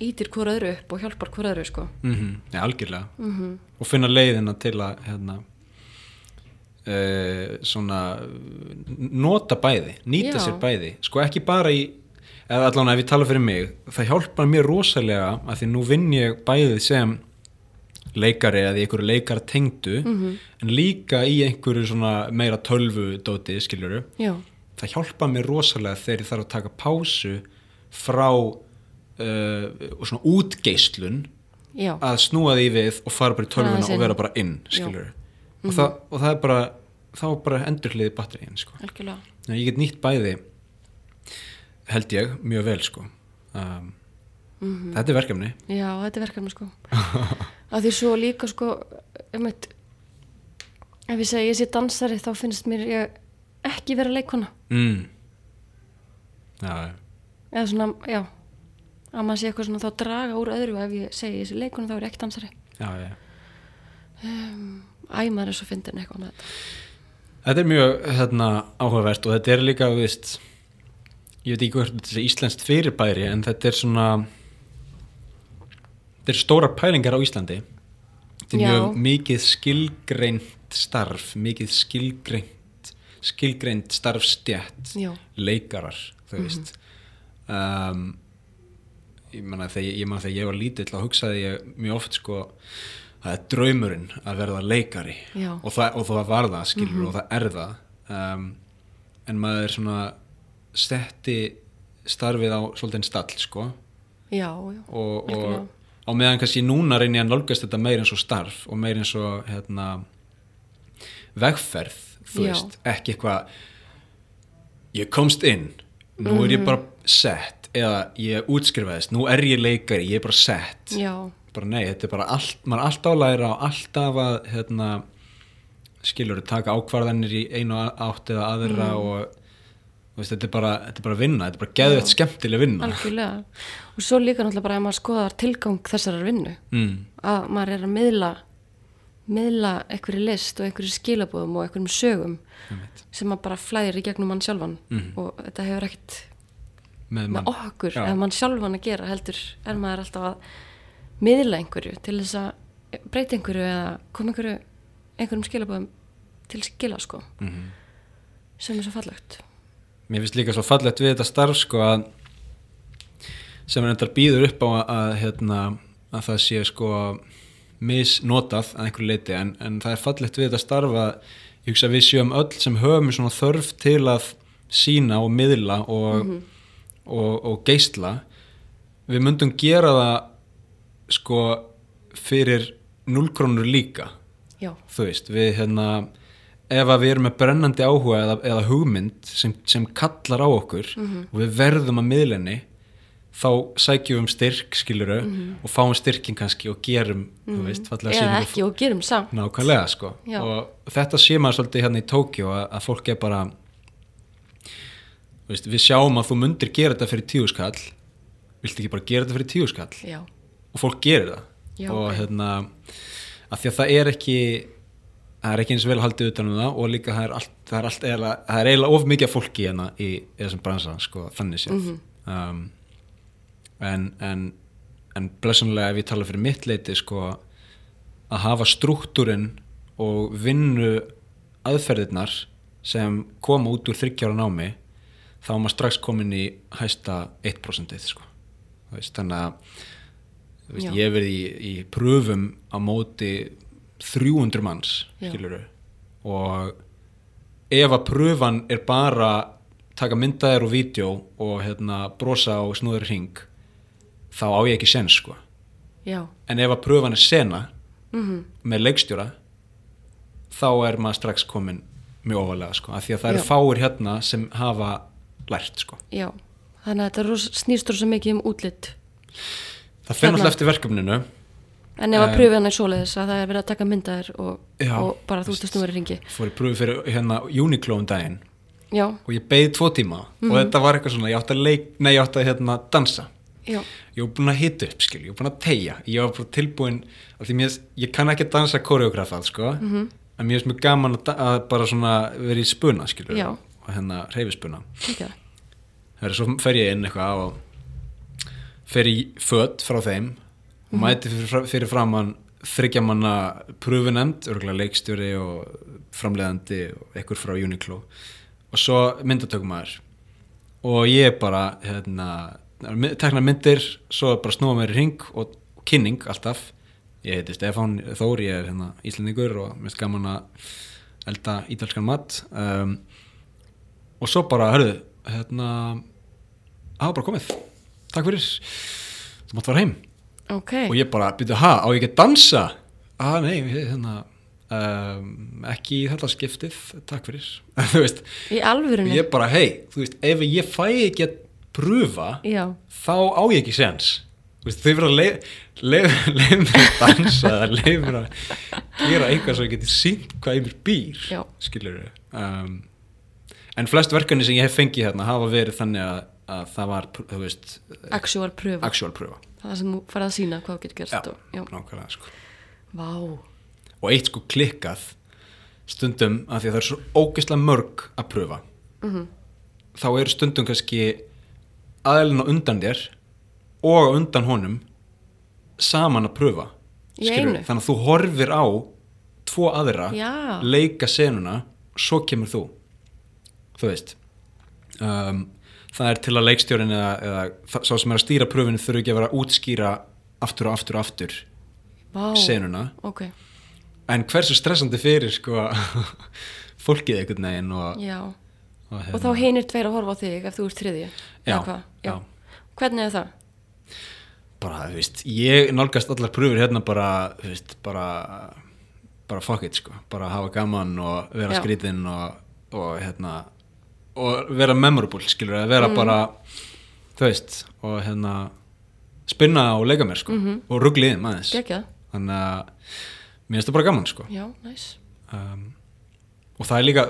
Speaker 2: ítir hvora öðru upp og hjálpar hvora öðru sko
Speaker 1: Mm ja, algjörlega og finna leiðina til að hérna, uh, svona n- nota bæði, nýta
Speaker 2: Já.
Speaker 1: sér bæði sko ekki bara í eða allan ef ég tala fyrir mig, það hjálpar mér rosalega að því nú vinn ég bæði sem leikari eða í einhverju leikar tengdu en líka í einhverju svona meira tölvu dóti skiljuru
Speaker 2: já,
Speaker 1: það hjálpa mér rosalega þegar ég þarf að taka pásu frá uh, svona útgeislun
Speaker 2: já,
Speaker 1: að snúa því við og fara bara í
Speaker 2: Aðeins
Speaker 1: tölvuna
Speaker 2: inn.
Speaker 1: og vera bara inn skilur og, það, og það er bara þá er bara endurliði batteríin sko.
Speaker 2: algjörlega
Speaker 1: Þannig að ég get nýtt bæði held ég mjög vel sko. um, þetta er verkefni
Speaker 2: Já, þetta er verkefni sko að því svo líka sko einmitt, ef ég segi ég sé dansari þá finnst mér ég ekki vera leikona
Speaker 1: mm. já, já.
Speaker 2: eða svona, já að maður sé eitthvað svona þá draga úr öðru ef ég segi ég sé leikona þá er ég ekki dansari
Speaker 1: já, já
Speaker 2: Æ, maður er svo fyndin eitthvað með þetta
Speaker 1: Þetta er mjög hérna, áhugavert og þetta er líka, þú veist, ég veit ekki hvort þetta er íslenskt fyrirbæri en þetta er svona, þetta er stóra pælingar á Íslandi. Þetta er
Speaker 2: Já.
Speaker 1: mjög mikið skilgreint starf, mikið skilgreint, skilgreint starfstjætt,
Speaker 2: Já.
Speaker 1: leikarar, þú veist. um, ég man að þegar ég, man að þegar ég var lítill þá hugsaði ég mjög oft sko það er draumurinn að verða leikari
Speaker 2: Já.
Speaker 1: og það, og það var það skilur og það er það um, en maður svona setti starfið á svolítið stall sko
Speaker 2: Já, já,
Speaker 1: og,
Speaker 2: algjörlega.
Speaker 1: og á meðan kannski núna reyni ég að nálgast þetta meir eins og starf og meir eins og hérna, vegferð þú
Speaker 2: Já.
Speaker 1: veist, ekki eitthvað ég komst inn nú er
Speaker 2: Mhm.
Speaker 1: ég bara sett eða ég útskrifaðist, nú er ég leikari ég er bara sett
Speaker 2: já,
Speaker 1: bara nei, þetta er bara allt, maður er alltaf að læra og alltaf að hérna, skilur, taka ákvarðanir í einu átt eða aðra
Speaker 2: Mhm.
Speaker 1: og þú veist, þetta er bara, þetta er bara vinna þetta er bara geðvett skemmtileg vinna
Speaker 2: algjörlega og svo líka náttúrulega bara ef maður skoðar tilgang þessarar vinnu
Speaker 1: mm.
Speaker 2: að maður er að miðla miðla einhverju list og einhverju skilabóðum og einhverjum sögum sem að bara flæðir í gegnum mann sjálfan og þetta hefur ekkert
Speaker 1: Mhm. með
Speaker 2: með
Speaker 1: mann
Speaker 2: okkur,
Speaker 1: Já.
Speaker 2: ef mann sjálfan að gera heldur er maður alltaf að miðla einhverju til þess að breyta einhverju eða koma einhverju einhverjum skilabóðum til skila sko
Speaker 1: Mhm.
Speaker 2: sem er svo fallegt
Speaker 1: Mér finnst líka svo fallegt við þetta starf sko að sem er þetta býður upp á að, að, hérna, að það sé sko misnotað að einhverju leiti en, en það er fallegt við þetta starf að ég hugsa að við séum öll sem höfum svona þörf til að sína og miðla og,
Speaker 2: Mhm.
Speaker 1: og, og geisla við myndum gera það sko fyrir 0 krónur líka
Speaker 2: já,
Speaker 1: þú veist, við hérna ef að við erum með brennandi áhuga eða, eða hugmynd sem, sem kallar á okkur
Speaker 2: Mhm.
Speaker 1: og við verðum að miðlenni þá sækjum við um styrk skiluru og fáum styrkin kannski og gerum, þú veist, fallega
Speaker 2: Mhm. eða
Speaker 1: sýningu
Speaker 2: ekki og gerum samt
Speaker 1: nákvæmlega sko
Speaker 2: Já.
Speaker 1: og þetta sé maður svolítið hérna í Tókjó að, að fólk er bara þú veist, við sjáum að þú mundir gera þetta fyrir tíuskall viltu ekki bara gera þetta fyrir tíuskall
Speaker 2: já,
Speaker 1: og fólk gerir það
Speaker 2: Já,
Speaker 1: og
Speaker 2: ok.
Speaker 1: hérna af því að það er ekki það er ekki eins vel haldið utan um það og líka það er allt, það er allt eiginlega, það er eiginlega of mikið af fólki hérna í, í þessum bransa sko, þannig séð
Speaker 2: Mhm.
Speaker 1: um, en, en, en blessunlega ef ég tala fyrir mitt leiti sko, að hafa struktúrin og vinnu aðferðirnar sem koma út úr þryggjára námi þá er maður strax komin í hæsta 1% sko. Þú veist, þannig að Þú veist,
Speaker 2: Já.
Speaker 1: ég hef verið í, í pröfum á móti 300 manns
Speaker 2: Já.
Speaker 1: skiluru og ef að pröfan er bara taka myndaðir og vídeo og hérna, brosa og snúður hring þá á ég ekki sen sko
Speaker 2: já,
Speaker 1: en ef að pröfan er sena
Speaker 2: mhm,
Speaker 1: með leikstjóra þá er maður strax komin mjög ofalega sko, af því að það
Speaker 2: Já.
Speaker 1: eru fáir hérna sem hafa lært sko
Speaker 2: já þannig að þetta ros, snýst rosa mikið um útlit
Speaker 1: það fyrir
Speaker 2: Hérna.
Speaker 1: alltaf eftir verkefninu
Speaker 2: en ef að
Speaker 1: Eh.
Speaker 2: pröfið hann er svoleiðis að það er verið að taka myndaðir og,
Speaker 1: Já,
Speaker 2: og bara þú
Speaker 1: veist.
Speaker 2: stundum verið ringi
Speaker 1: fór í pröfu fyrir hérna Uniqlo um daginn
Speaker 2: já,
Speaker 1: og ég beið tvo tíma
Speaker 2: Mhm.
Speaker 1: og þetta var eitthvað svona, ég átti að leik, nei ég átti að hérna dansa,
Speaker 2: já,
Speaker 1: ég var búin að hita upp skil, ég var búin að tegja, ég var bara tilbúin af því mér, ég kann ekki að dansa koreografað sko,
Speaker 2: Mhm.
Speaker 1: en mér er mjög gaman að, da- að bara svona vera í spuna skilur,
Speaker 2: Já.
Speaker 1: og hérna reyfispuna
Speaker 2: ekki það
Speaker 1: Herra, svo fer ég inn eitthvað og fer í fött frá þeim og mæti fyrir, fyrir framann þryggja manna pröfunemnd örgulega leikstjóri og framleiðandi og ekkur frá Uniqlo og svo myndatökumæður og ég bara hérna, tekna myndir, svo bara snúa mér í ring og og kynning alltaf ég heiti Stefán Þór, ég er hérna íslendingur og mér finnst gaman að elda ítalskan mat um, og svo bara, hörðu hérna, hafa bara komið takk fyrir, þú mátt fara heim
Speaker 2: ok,
Speaker 1: og ég bara, byrju, ha, á ég ekki að dansa? Ah, nei, ég- hérna um, ekki í þetta skiptið takk fyrir, þú veist
Speaker 2: í alvörunni
Speaker 1: ég bara, hei, þú veist, ef ég fæ ekki að pröfa,
Speaker 2: já,
Speaker 1: þá á ég ekki sens Þú veist, þau verður að leif, leif, leif mér að dansa eða leif mér að gera eitthvað svo ég geti sínt hvað yfir býr
Speaker 2: Já.
Speaker 1: skilur um, en flest verkefni sem ég hef fengið hérna hafa verið þannig að, að það var pr- þú veist,
Speaker 2: actual pröfa
Speaker 1: actual pröfa
Speaker 2: það sem þú farið að sína hvað þú getur gerst og, já.
Speaker 1: nákvæmlega sko
Speaker 2: vá,
Speaker 1: og eitt sko klikkað stundum af því að það er svo ógeðslega mörg að pröfa
Speaker 2: Mhm.
Speaker 1: -hmm. þá eru stundum kannski aðlun á undan þér og á undan honum saman að pröfa
Speaker 2: Í
Speaker 1: Skilurðu?
Speaker 2: einu?
Speaker 1: þannig að þú horfir á tvo aðra
Speaker 2: Já.
Speaker 1: leika senuna svo kemur þú þú veist um, það er til að leikstjórin eða, eða þa- sá sem er að stýra pröfinu þurfi ekki að vera að útskýra aftur og aftur og aftur
Speaker 2: vá
Speaker 1: senuna
Speaker 2: ok,
Speaker 1: en hversu stressandi fyrir sko fólkið einhvern veginn og,
Speaker 2: já
Speaker 1: og,
Speaker 2: og þá hinir tveir að horfa á þig ef þú ert þriði
Speaker 1: Já,
Speaker 2: já.
Speaker 1: já.
Speaker 2: hvernig er það?
Speaker 1: bara, þú veist, ég nálgast allar pröfur hérna bara, þú veist, bara bara fuck it sko, bara hafa gaman og vera
Speaker 2: Já.
Speaker 1: skrítinn og, og hérna og vera memorable, skilur, að
Speaker 2: Mhm.
Speaker 1: vera bara þú veist, og hérna spinna og leika mér sko og rugliðin aðeins
Speaker 2: Mhm. geggjað,
Speaker 1: þannig að mér finnst það bara gaman sko
Speaker 2: já, næs
Speaker 1: um, og það er líka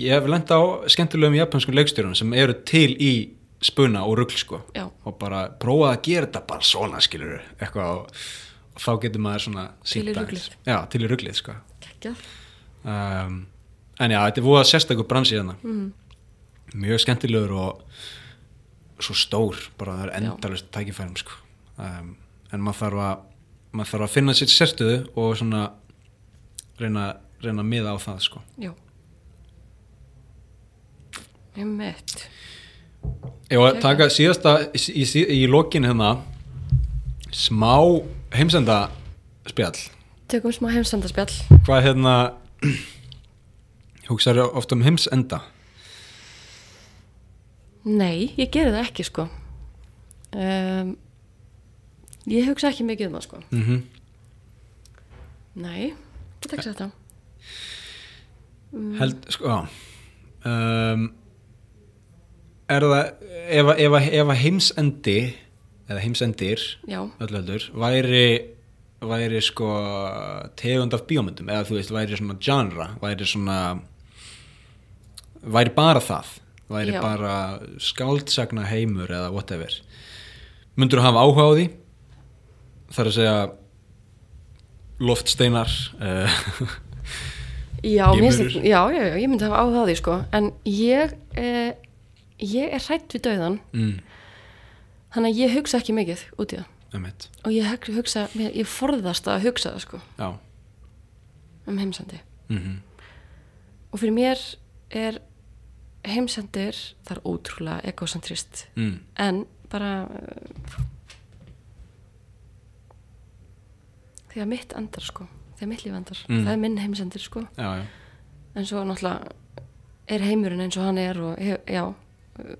Speaker 1: ég hef lent á skemmtilegum japanskum leikstjórunum sem eru til í spuna og rugl sko
Speaker 2: Já.
Speaker 1: og bara prófaði að gera þetta bara svona skilur eitthvað og, þá getur maður svona
Speaker 2: Til í
Speaker 1: sýnt
Speaker 2: ruglið.
Speaker 1: aðeins. Já, til í ruglið sko.
Speaker 2: Kekja.
Speaker 1: um, en já, þetta er voða sérstakur bransi hérna
Speaker 2: Mm.
Speaker 1: mjög skemmtilegur og svo stór, bara það er endalust tækifærum sko. um, en maður þarf að maður þarf að finna sitt sérstöðu og svona reyna, reyna að miða á það sko.
Speaker 2: Já. Ég mitt.
Speaker 1: Ég var
Speaker 2: Geggjað.
Speaker 1: að taka síðasta í, í, í lokin hérna smá heimsenda spjall
Speaker 2: Tökum smá heimsendarspjall.
Speaker 1: hvað hérna hugsaður oft um heimsenda
Speaker 2: Nei, ég geri það ekki sko. Um, ég hugsa ekki mikið um það sko.
Speaker 1: mm
Speaker 2: Nei, ég tek sér þetta.
Speaker 1: held sko já. um, er það ef, að- ef, að- ef að heimsendi eða heimsendir
Speaker 2: Já,
Speaker 1: öll heldur væri væri sko tegund af bíómyndum eða þú veist væri svona genre væri svona væri bara það væri
Speaker 2: Já.
Speaker 1: bara skáldsagna heimur eða whatever myndur þú hafa áhuga á því þar að segja loftsteinar uh,
Speaker 2: já, mér finnst
Speaker 1: Geimverur.
Speaker 2: þetta- já, já, já, ég myndi hafa áhuga á því sko. En ég, eh, ég er hrætt við dauðan,
Speaker 1: mm,
Speaker 2: þannig að ég hugsa ekki mikið út í það.
Speaker 1: um eitt
Speaker 2: Og ég, hug- hugsa, mér- ég forðast að hugsa það sko,
Speaker 1: já
Speaker 2: um heimsendi.
Speaker 1: mm
Speaker 2: Og fyrir mér er heimsendir, það er ótrúlega ekocentrist.
Speaker 1: mm,
Speaker 2: en bara uh, þegar mitt andar sko þegar mitt líf andar,
Speaker 1: Mm.
Speaker 2: það er minn heimsendir sko
Speaker 1: já, já,
Speaker 2: en svo náttúrulega er heimurinn eins og hann er og hef, já uh,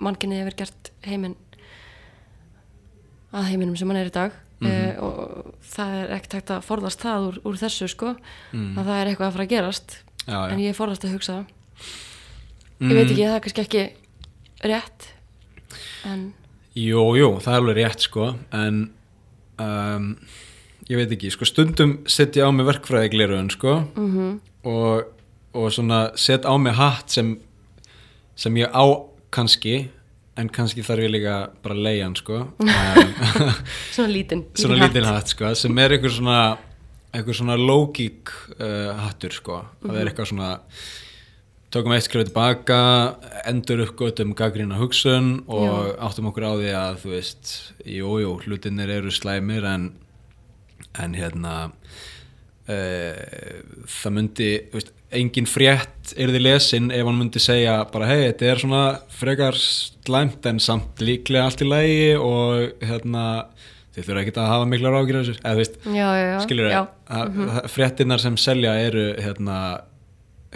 Speaker 2: mannkynnið hefur gert heiminn að heiminum sem hann er í dag mm og það er ekkert hægt að forðast það úr, úr þessu sko
Speaker 1: Mm.
Speaker 2: að það er eitthvað að fara að gerast
Speaker 1: já, já.
Speaker 2: en ég forðast að hugsa það
Speaker 1: mm,
Speaker 2: ég veit ekki, það er kannski ekki rétt en
Speaker 1: Jú, jú, það er alveg rétt sko en um, ég veit ekki, sko stundum setja ég á mig verkfræði sko
Speaker 2: mhm
Speaker 1: og, og svona set á mig hatt sem sem ég á kannski en kannski þarf ég líka bara að leiðan sko um,
Speaker 2: Svona lítinn.
Speaker 1: svona
Speaker 2: lítinn
Speaker 1: lítinn
Speaker 2: hatt.
Speaker 1: hatt sko sem er einhver svona einhver svona logík uh, hattur sko það er eitthvað svona tökum eitt skrifu tilbaka endur uppgötum gaggrína hugsun og áttum okkur á því að þú veist jú, jú, hlutinir eru slæmir en, en hérna uh, það myndi þú veist, engin frétt yrði lesin ef hann myndi segja bara hei, þetta er svona frekar slæmt en samt líklega allt í lægi og hérna þið þurfa ekkert að hafa miklar ágjur þessu eða þú veist,
Speaker 2: Já, já, já.
Speaker 1: skilur
Speaker 2: Já. Mhm.
Speaker 1: það fréttinnar sem selja eru hérna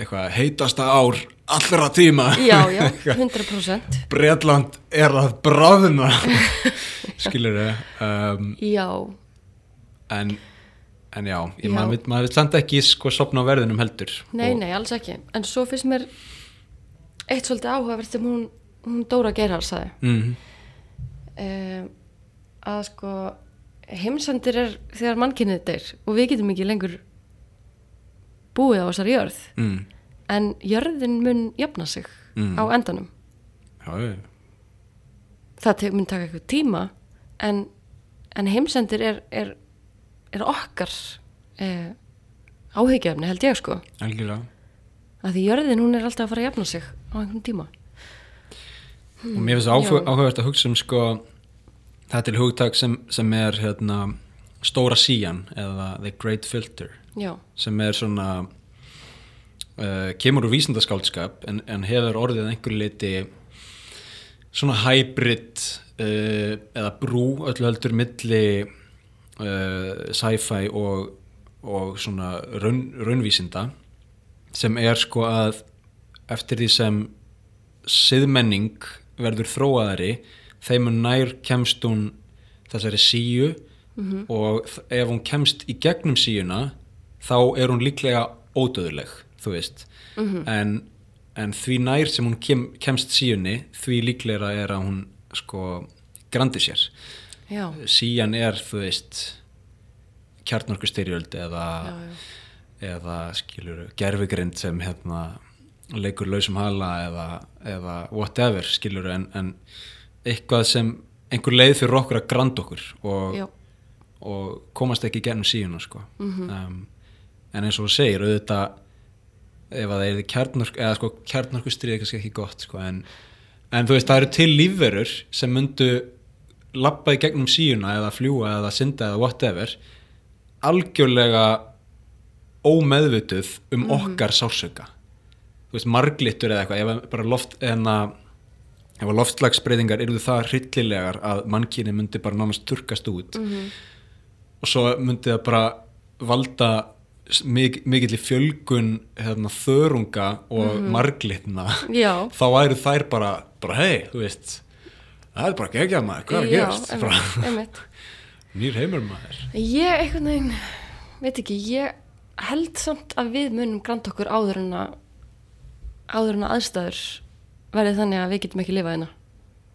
Speaker 1: eitthvað heitasta ár allra tíma
Speaker 2: Já, já, 100%.
Speaker 1: Bretland er að bráðuna skilur það um,
Speaker 2: Já,
Speaker 1: en, en já,
Speaker 2: Já.
Speaker 1: ég, maður, vill- maður vil samt ekki sko sopna á verðinum heldur
Speaker 2: nei,
Speaker 1: og,
Speaker 2: nei, alls ekki. En svo finnst mér eitt svolítið áhugavert sem hún, hún Dóra Geirhár saði.
Speaker 1: Mhm,
Speaker 2: Um, að sko, heimsendir er þegar mannkynnið deyr og við getum ekki lengur búið á þessari jörð.
Speaker 1: mm,
Speaker 2: En jörðin mun jafna sig
Speaker 1: Mm.
Speaker 2: á endanum.
Speaker 1: já, já,
Speaker 2: það te- mun taka eitthvað tíma en, en heimsendir er, er, er okkar eh, áhyggjöfni held ég sko
Speaker 1: algjörlega
Speaker 2: að því jörðin hún er alltaf að fara að jafna sig á einhvern tíma
Speaker 1: og mér finnst
Speaker 2: Mm, já.
Speaker 1: áhuga- áhugavert að hugsa um sko það til hugtak sem, sem er hérna, stóra síjan eða the great filter
Speaker 2: já,
Speaker 1: sem er svona uh, kemur úr vísindaskáldskap en, en hefur orðið að einhverju liti svona hybrid uh, eða brú öllu heldur milli uh, sci-fi og, og svona raun, raunvísinda sem er sko að eftir því sem siðmenning verður þróaðari þeim mun nær kemst hún þessari síu
Speaker 2: Mhm.
Speaker 1: og þ- ef hún kemst í gegnum síuna þá er hún líklega ódöðuleg, þú veist
Speaker 2: Mhm.
Speaker 1: en, en því nær sem hún kem, kemst síunni því líklega er að hún sko grandi sér
Speaker 2: já,
Speaker 1: síjan er, þú veist kjarnorku styrjöld eða
Speaker 2: já, já.
Speaker 1: eða skilur gerfugrind sem hérna leikur lausum hala eða, eða whatever skilur en, en eitthvað sem einhver leið fyrir okkur að granda okkur og,
Speaker 2: Já.
Speaker 1: og komast ekki gennum síðuna sko. um, en eins og þú segir auðvitað ef að það er kjarnorku eða sko kjarnorku stríð er kannski ekki gott sko, en, en þú veist það eru til lífverur sem myndu labba í gegnum síuna eða fljúa eða synda eða whatever algjörlega ómeðvituð um okkar sársöka þú veist marglittur eða eitthvað ef að bara loft hérna, en að ef að loftslagsbreytingar eru það hryllilegar að mannkyni myndi bara nánast turkast út
Speaker 2: Mhm.
Speaker 1: og svo myndi það bara valda s- mik mikill fjölgun hérna, þörunga og marglitna
Speaker 2: Mhm. Já.
Speaker 1: þá væru þær bara, bara hei, þú veist það er bara geggjað maður, hvað er að
Speaker 2: Já,
Speaker 1: gerast
Speaker 2: einmitt,
Speaker 1: Bara,
Speaker 2: einmitt.
Speaker 1: nýr heimur maður
Speaker 2: Ég einhvern veginn, veit ekki, ég held samt að við munum grant okkur áður en að áður en að aðstæður verði þannig að við getum ekki lifað hérna.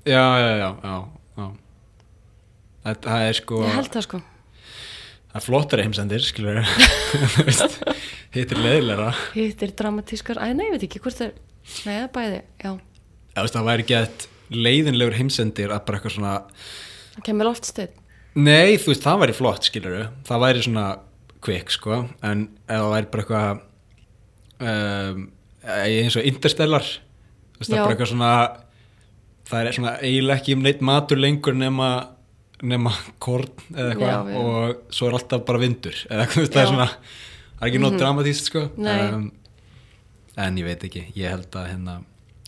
Speaker 1: já, já, já, já, já. Það, það er sko
Speaker 2: Ég held það sko.
Speaker 1: það er flottari heimsendir skilur Þú veist, hitt er leiðilegra
Speaker 2: Hitt er dramatískar, að nei, ég veit ekki hvort það er, nei, það er bæði, já.
Speaker 1: Eða, þú veist, það væri gett leiðinlegur heimsendir að bara eitthvað svona
Speaker 2: Það kemur oft stöð.
Speaker 1: Nei, þú veist, það væri flott, skilur Það væri svona kvik, sko En ef það væri bara eitthvað um, eins og interstellar Þú veist, það
Speaker 2: Já.
Speaker 1: er bara eitthvað svona Það er svona eiginlega ekki um neitt matur lengur nema, nema korn eða eitthvað
Speaker 2: Já, já.
Speaker 1: og svo er alltaf bara vindur eða eitthvað, þú veist, það er
Speaker 2: Já. Mhm.
Speaker 1: svona það er ekki nót dramatíst, sko
Speaker 2: Nei.
Speaker 1: en ég veit ekki, ég held að hérna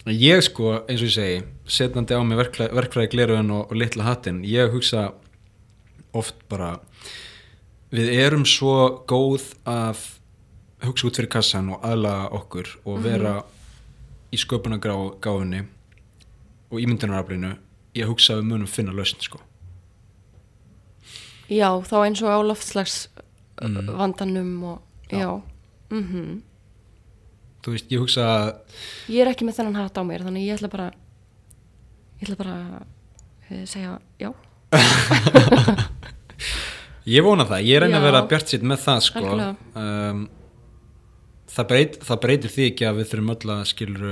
Speaker 1: ég sko, eins og ég segi setjandi á mig verkfræði, verkfræði gleruðin og, og litla hattinn, ég hugsa oft bara við erum svo góð að hugsa út fyrir kassan og aðlaga okkur og vera í sköpunargáfinni og ímyndunaraflinu ég hugsa að við munum finna lausn sko.
Speaker 2: Já, þá eins og á loftslags vandanum og, já. Mhm.
Speaker 1: þú veist, ég hugsa að
Speaker 2: Ég er ekki með þennan hatt á mér, þannig ég ætla bara, ég ætla bara að segja, já,
Speaker 1: Ég vona það, ég reyna að
Speaker 2: Já.
Speaker 1: vera bjart sitt með það sko.
Speaker 2: Algjörlega.
Speaker 1: um, það, breyt, það breytir því ekki að við þurfum öll að skilur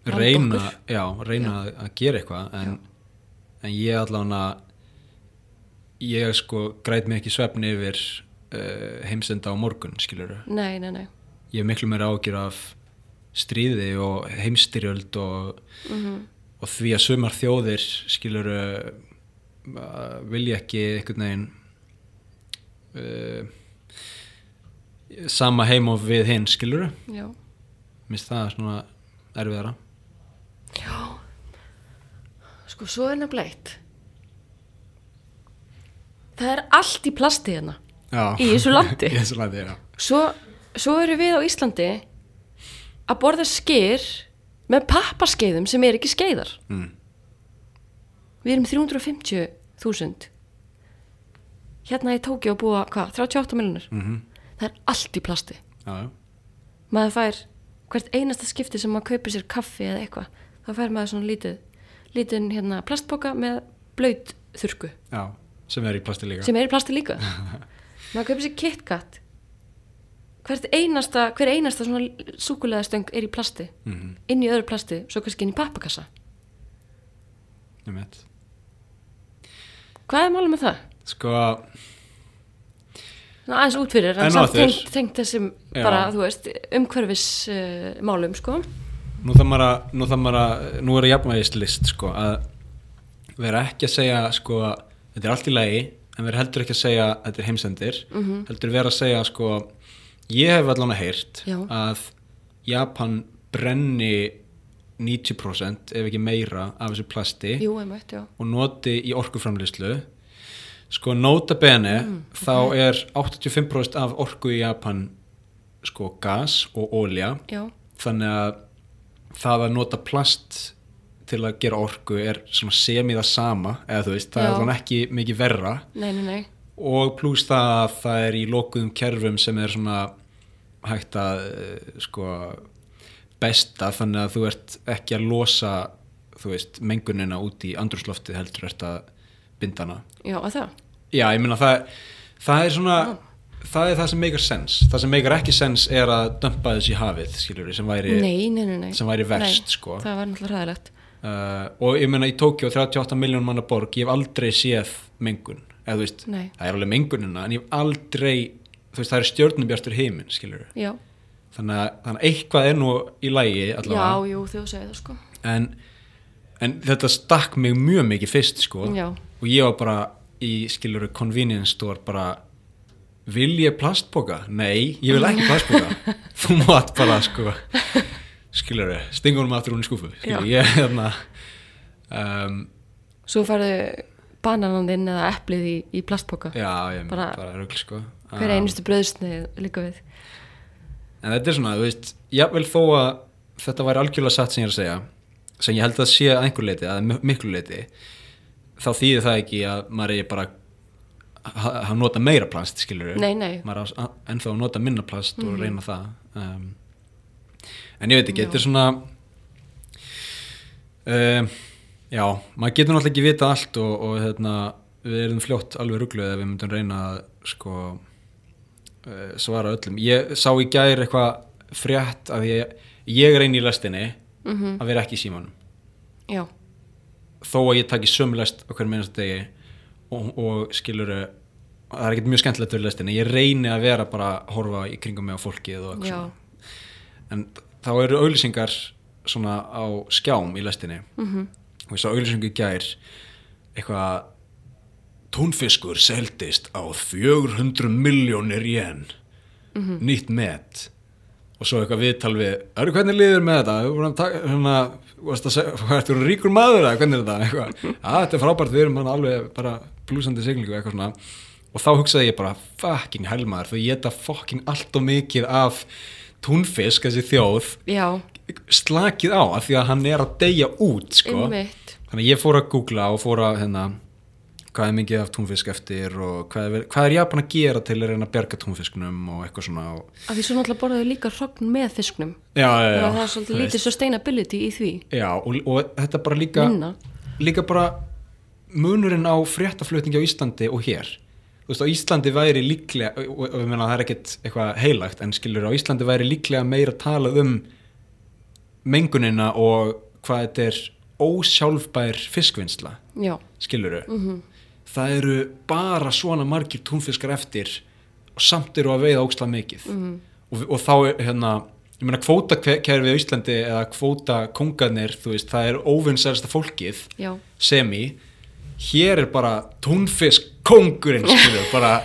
Speaker 2: Vanda
Speaker 1: reyna,
Speaker 2: okkur.
Speaker 1: já, reyna Að, að gera eitthvað en, en ég allan að ég sko græt mig ekki svefn yfir uh, heimsenda á morgun skilur
Speaker 2: nei, nei, nei.
Speaker 1: ég hef miklu meira ágjur af stríði og heimstyrjöld og,
Speaker 2: Mhm.
Speaker 1: og því að sumar þjóðir skilur uh, vilja ekki einhvern veginn uh, eh, sama heim og við hinn skilur
Speaker 2: Já.
Speaker 1: minnst það svona erfiðara
Speaker 2: Já. Sko, svo er nefnilega eitt. Það er allt í plasti hérna.
Speaker 1: já.
Speaker 2: Í þessu landi?
Speaker 1: í þessu landi, já
Speaker 2: Svo, svo eru við á Íslandi að borða skyr með pappaskeiðum sem er ekki skeiðar.
Speaker 1: mm.
Speaker 2: Við erum 350.000. Hérna í Tókjó búa, hvað, 38 miljonir?
Speaker 1: mhm,
Speaker 2: Það er allt í plasti.
Speaker 1: já, já.
Speaker 2: maður fær hvert einasta skipti sem maður kaupir sér kaffi eða eitthvað þá fær maður svona lítið lítinn hérna plastboka með blaut þurku
Speaker 1: já sem er í plasti líka
Speaker 2: sem er í plasti líka maður kaupir sér KitKat hvert einasta, hver einasta svona súkulega stöng er í plasti
Speaker 1: Mhm.
Speaker 2: inn í öðru plasti, svo kannski inn í pappakassa
Speaker 1: Einmitt.
Speaker 2: hvað er málum með það?
Speaker 1: sko,
Speaker 2: Svona aðeins út fyrir,
Speaker 1: En
Speaker 2: en samt
Speaker 1: áður.
Speaker 2: tengt, tengt þessum
Speaker 1: Já.
Speaker 2: bara, þú veist, umhverfis uh, málum, sko
Speaker 1: nú þarf maður að nú þarf maður að, nú er að jafnvægislist sko, að vera ekki að segja sko, þetta er allt í lagi en vera heldur ekki að segja að þetta er heimsendir
Speaker 2: Mm-hmm.
Speaker 1: -hmm. heldur vera að segja sko ég hef allan að heyrt
Speaker 2: Já.
Speaker 1: að Japan brenni 90% ef ekki meira af þessu plasti
Speaker 2: jú, einmitt, já,
Speaker 1: og noti í orkuframlýslu sko nota bene
Speaker 2: Mm,
Speaker 1: þá er 85% af orku í Japan sko gas og olja
Speaker 2: já,
Speaker 1: þannig að það að nota plast til að gera orku er svona semiða sama eða þú veist, það
Speaker 2: Já.
Speaker 1: er þannig ekki mikið verra
Speaker 2: nei, nei, nei
Speaker 1: og pluss það að það er í lokuðum kerfum sem er svona hægt að eh, sko besta þannig að þú ert ekki að losa þú veist, mengunina út í andrúsloftið heldur ert að binda hana
Speaker 2: já, að það,
Speaker 1: Já, ég meina það, það er svona það er það sem meikar sens það sem meikar ekki sens er að dömpa þess í hafið skilur sem væri
Speaker 2: nei, nei, nei, nei
Speaker 1: sem væri verst,
Speaker 2: nei,
Speaker 1: sko.
Speaker 2: það var náttúrulega hræðilegt
Speaker 1: Eh, uh, og ég meina í Tókjó 38 miljón manna borg, ég hef aldrei séð mengun eða eða þú veist,
Speaker 2: Nei.
Speaker 1: það er alveg mengunina en ég hef aldrei, þú veist, það er stjörnubjartur heiminn, skilur
Speaker 2: já,
Speaker 1: þannig að, þannig að eitthvað er nú í lægi allavega,
Speaker 2: já, jú, þegar þú segir það sko
Speaker 1: en, en þetta stakk mig mjög mikið fyrst sko
Speaker 2: Já.
Speaker 1: og ég var bara í skiluru convenience store bara vil ég plastboka? Nei, ég vil ekki plastboka þú mátt bara sko skiluru, stingunum aftur hún í skúfu skiluru,
Speaker 2: Já.
Speaker 1: ég hérna um,
Speaker 2: Svo færðu bananan þinn eða eplið í, í plastpoka
Speaker 1: já, ég bara,
Speaker 2: Bara-
Speaker 1: bara rugl sko
Speaker 2: Hver
Speaker 1: Um,
Speaker 2: einustu bröðsnið líka við
Speaker 1: En þetta er svona, þú veist, jafnvel þó að þetta væri algjörlega satt sem ég er að segja, sem ég held að sé að einhver leiti, að miklu leiti, þá þýðir það ekki að maður er bara að að nota meira plast, skilur við.
Speaker 2: Nei, nei. Mhm.
Speaker 1: Maður er að- ennþá að nota minna plast og reyna það. Um, en ég veit ekki, þetta er svona, um, já, maður getur náttúrulega ekki vita allt og, og hérna, við erum fljótt alveg rugluð ef við myndum reyna að sko, eh, svara öllum ég sá í gær eitthvað frétt að ég, ég reyni í lestinni
Speaker 2: Mhm.
Speaker 1: að vera ekki í símanum
Speaker 2: Já,
Speaker 1: þó að ég taki sömu lest okkur minnast degi og, og skilur það er ekkert mjög skemmtilegt fyrir lestinni ég reyni að vera bara að horfa í kringum mig á fólkið og eitthvað
Speaker 2: Já.
Speaker 1: svona en þá eru auglýsingar svona á skjám í lestinni
Speaker 2: Mhm.
Speaker 1: -hmm. og ég sá auglýsingu í gær eitthvað tónfiskur seldist á 400 miljónir jen nýtt met og svo eitthvað viðtal við eru hvernig liður með þetta Þú voru að taka- hérna, varst að segja- hvað ertu ríkur maður eða hvernig er þetta Eitthvað, að þetta er frábært við erum hann alveg bara blúsandi siglingu eitthvað svona og þá hugsaði ég bara fucking helmaður þau geta fucking allt og mikið af túnfisk þessi þjóð
Speaker 2: já,
Speaker 1: slakið á af því að hann er að deyja út sko.
Speaker 2: Einmitt.
Speaker 1: þannig að ég fór að googla og fór að hérna, hvað er mikið af túnfisk eftir og hvað er, hvað er Japan að gera til að reyna að berga túnfisknum og eitthvað svona og...
Speaker 2: af því svo náttúrulega borðaðu líka hrogn með fisknum
Speaker 1: já, já, já,
Speaker 2: Þannig að það er
Speaker 1: þú
Speaker 2: svolítið
Speaker 1: veist.
Speaker 2: lítið sustainability í því
Speaker 1: já og, og þetta bara líka
Speaker 2: Minna.
Speaker 1: líka bara munurinn á fréttaflutningi á Íslandi og hér þú veist á Íslandi væri líklega og, og, og ég meina, það er ekkert eitthvað heilagt en skilur á Íslandi væri líklega meira talað um mengunina og hvað þetta er ósjálfbær fiskvinnsla
Speaker 2: Já, Mhm.
Speaker 1: skiluru það eru bara svona margir túnfiskar eftir og samt eru að veiða óksla mikið og, og þá er hérna ég meina kvótakerfið á Íslandi eða kvótakongarnir, þú veist, það er óvinnsælsta fólkið
Speaker 2: já,
Speaker 1: semi hér er bara túnfiskkongurinn skilur, bara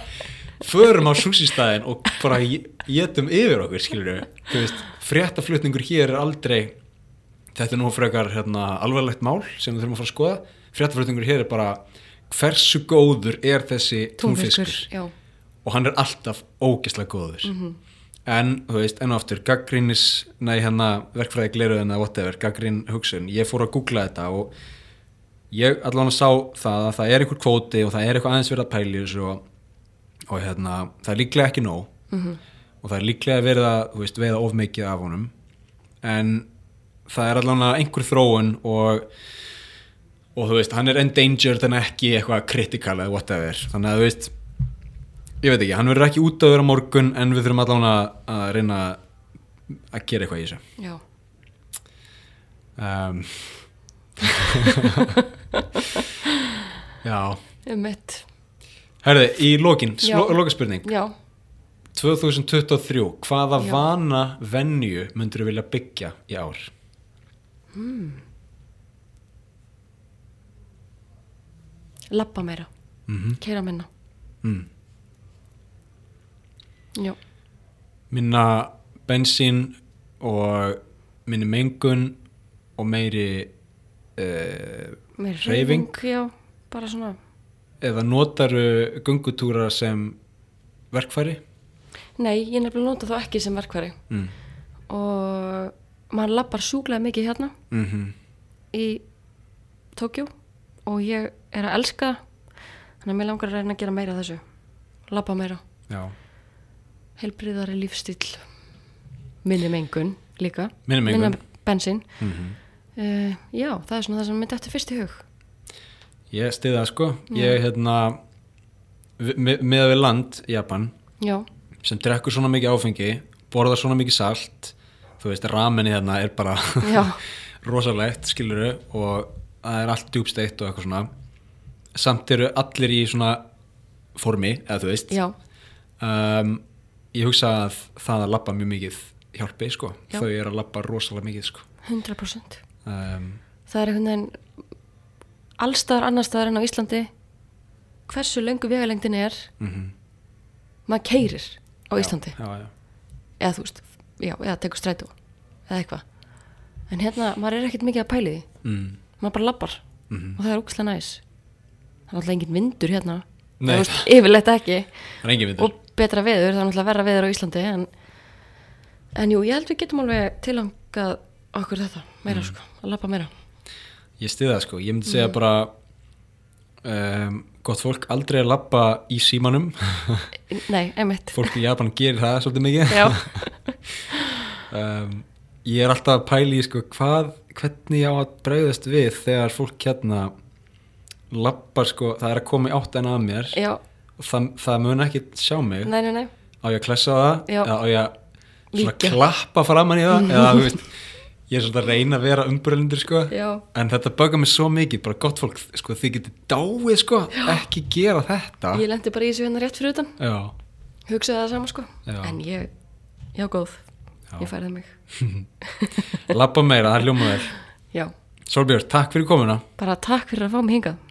Speaker 1: förum á súsistæðin og bara getum yfir okkur skilur, þú veist, fréttaflutningur hér er aldrei þetta er nú frekar hérna, alvarlegt mál sem við þurfum að fara að skoða fréttaflutningur hér er bara hversu góður er þessi túnfiskur,
Speaker 2: túnfiskur Já,
Speaker 1: og hann er alltaf ógeðslega góður en, þú veist, enn og aftur gaggrínis, nei hérna verkfræði gleruðin eða whatever, gaggrín hugsun ég fór að googla þetta og ég allan að sá það að það er einhver kvóti og það er eitthvað aðeins verið að pæli þessu og, og hérna, það er líklega ekki nóg og það er líklega verið að þú veist, veiða of mikið af honum en það er allan að einhver þróun og og þú veist, hann er endangered en ekki eitthvað critical eða whatever þannig að þú veist, ég veit ekki hann verður ekki út að vera morgun en við þurfum allan að, að reyna að gera eitthvað í þessu
Speaker 2: já
Speaker 1: um. Já
Speaker 2: um
Speaker 1: Herði, í lokin,
Speaker 2: Já.
Speaker 1: lokaspurning
Speaker 2: Já,
Speaker 1: 2023, hvaða
Speaker 2: Já.
Speaker 1: vana venju myndur þú vilja byggja í ár?
Speaker 2: labba meira,
Speaker 1: Mm
Speaker 2: keira minna
Speaker 1: mm.
Speaker 2: Já,
Speaker 1: Minna bensín og minni mengun og meiri uh,
Speaker 2: meira
Speaker 1: Hreyfing.
Speaker 2: hreyfing, Já, bara svona
Speaker 1: eða notaru gungutúra sem verkfæri?
Speaker 2: Nei, ég nefnilega nota þá ekki sem verkværi
Speaker 1: Mm.
Speaker 2: og maður lappar sjúklega mikið hérna
Speaker 1: Mm
Speaker 2: í Tókjó og ég er að elska það. þannig að mér langar að reyna að gera meira af þessu lappa meira,
Speaker 1: Já
Speaker 2: heilbriðari lífstíl minni mengun líka
Speaker 1: Minni mengun.
Speaker 2: minna bensin
Speaker 1: mm
Speaker 2: uh, já, það er svona það sem myndi eftir fyrst í hug
Speaker 1: Ég stiði það sko Ég hérna með, með við land, Japan
Speaker 2: já,
Speaker 1: sem drekkur svona mikið áfengi borðar svona mikið salt þú veist, ramenið hérna er bara
Speaker 2: já,
Speaker 1: rosalegt, skiluru og það er allt djúbsteitt og eitthvað svona samt eru allir í svona formi, eða þú veist
Speaker 2: já,
Speaker 1: um, ég hugsa að það að labba mjög mikið hjálpi sko,
Speaker 2: Já.
Speaker 1: þau eru að labba rosalega mikið sko
Speaker 2: 100%
Speaker 1: um,
Speaker 2: það er einhvern veginn allstaðar annar staðar en á Íslandi hversu löngu vegalengdin er
Speaker 1: mm
Speaker 2: maður keirir á Íslandi
Speaker 1: já, já, já.
Speaker 2: eða þú veist, já, eða tekur strætó eða eitthvað en hérna, maður er ekkert mikið að pæli því
Speaker 1: Mm.
Speaker 2: maður bara labbar
Speaker 1: Mhm.
Speaker 2: og það er ógæslega næs það er alltaf enginn vindur hérna
Speaker 1: Nei.
Speaker 2: Eða, þú veist, yfirleitt ekki
Speaker 1: það er engin vindur
Speaker 2: og betra veður, það er alltaf verra veður á Íslandi en, en jú, ég held við getum alveg tilangað okkur þetta meira
Speaker 1: Mm.
Speaker 2: sko, að labba meira
Speaker 1: Ég stiði það sko, ég myndi
Speaker 2: Mm.
Speaker 1: segja bara um, gott fólk aldrei að labba í símanum
Speaker 2: nei, einmitt
Speaker 1: fólk í Japan gerir það svolítið mikið
Speaker 2: já,
Speaker 1: um, Ég er alltaf að pæli sko hvað, hvernig ég á að bregðast við þegar fólk hérna labbar sko, það er að koma í áttan að mér
Speaker 2: já,
Speaker 1: og það, það mun ekki sjá mig
Speaker 2: nei, nei, nei
Speaker 1: á ég að klessa það
Speaker 2: Já.
Speaker 1: eða á ég að svona
Speaker 2: Víkja. Mhm.
Speaker 1: klappa framann í það eða þú veist ég er svolítið að reyna að vera umbrölindur sko
Speaker 2: Já.
Speaker 1: en þetta böggar mig svo mikið, bara gott fólk sko þið getið dáið sko, ekki gera þetta
Speaker 2: ég lendi bara í þessu hérna rétt fyrir utan
Speaker 1: já,
Speaker 2: hugsaði það sama sko
Speaker 1: Já.
Speaker 2: en ég, já góð
Speaker 1: Já.
Speaker 2: ég færði mig
Speaker 1: labba meira, það er ljómaður
Speaker 2: já,
Speaker 1: Solbjörn, takk fyrir komuna
Speaker 2: bara takk fyrir að fá mig hingað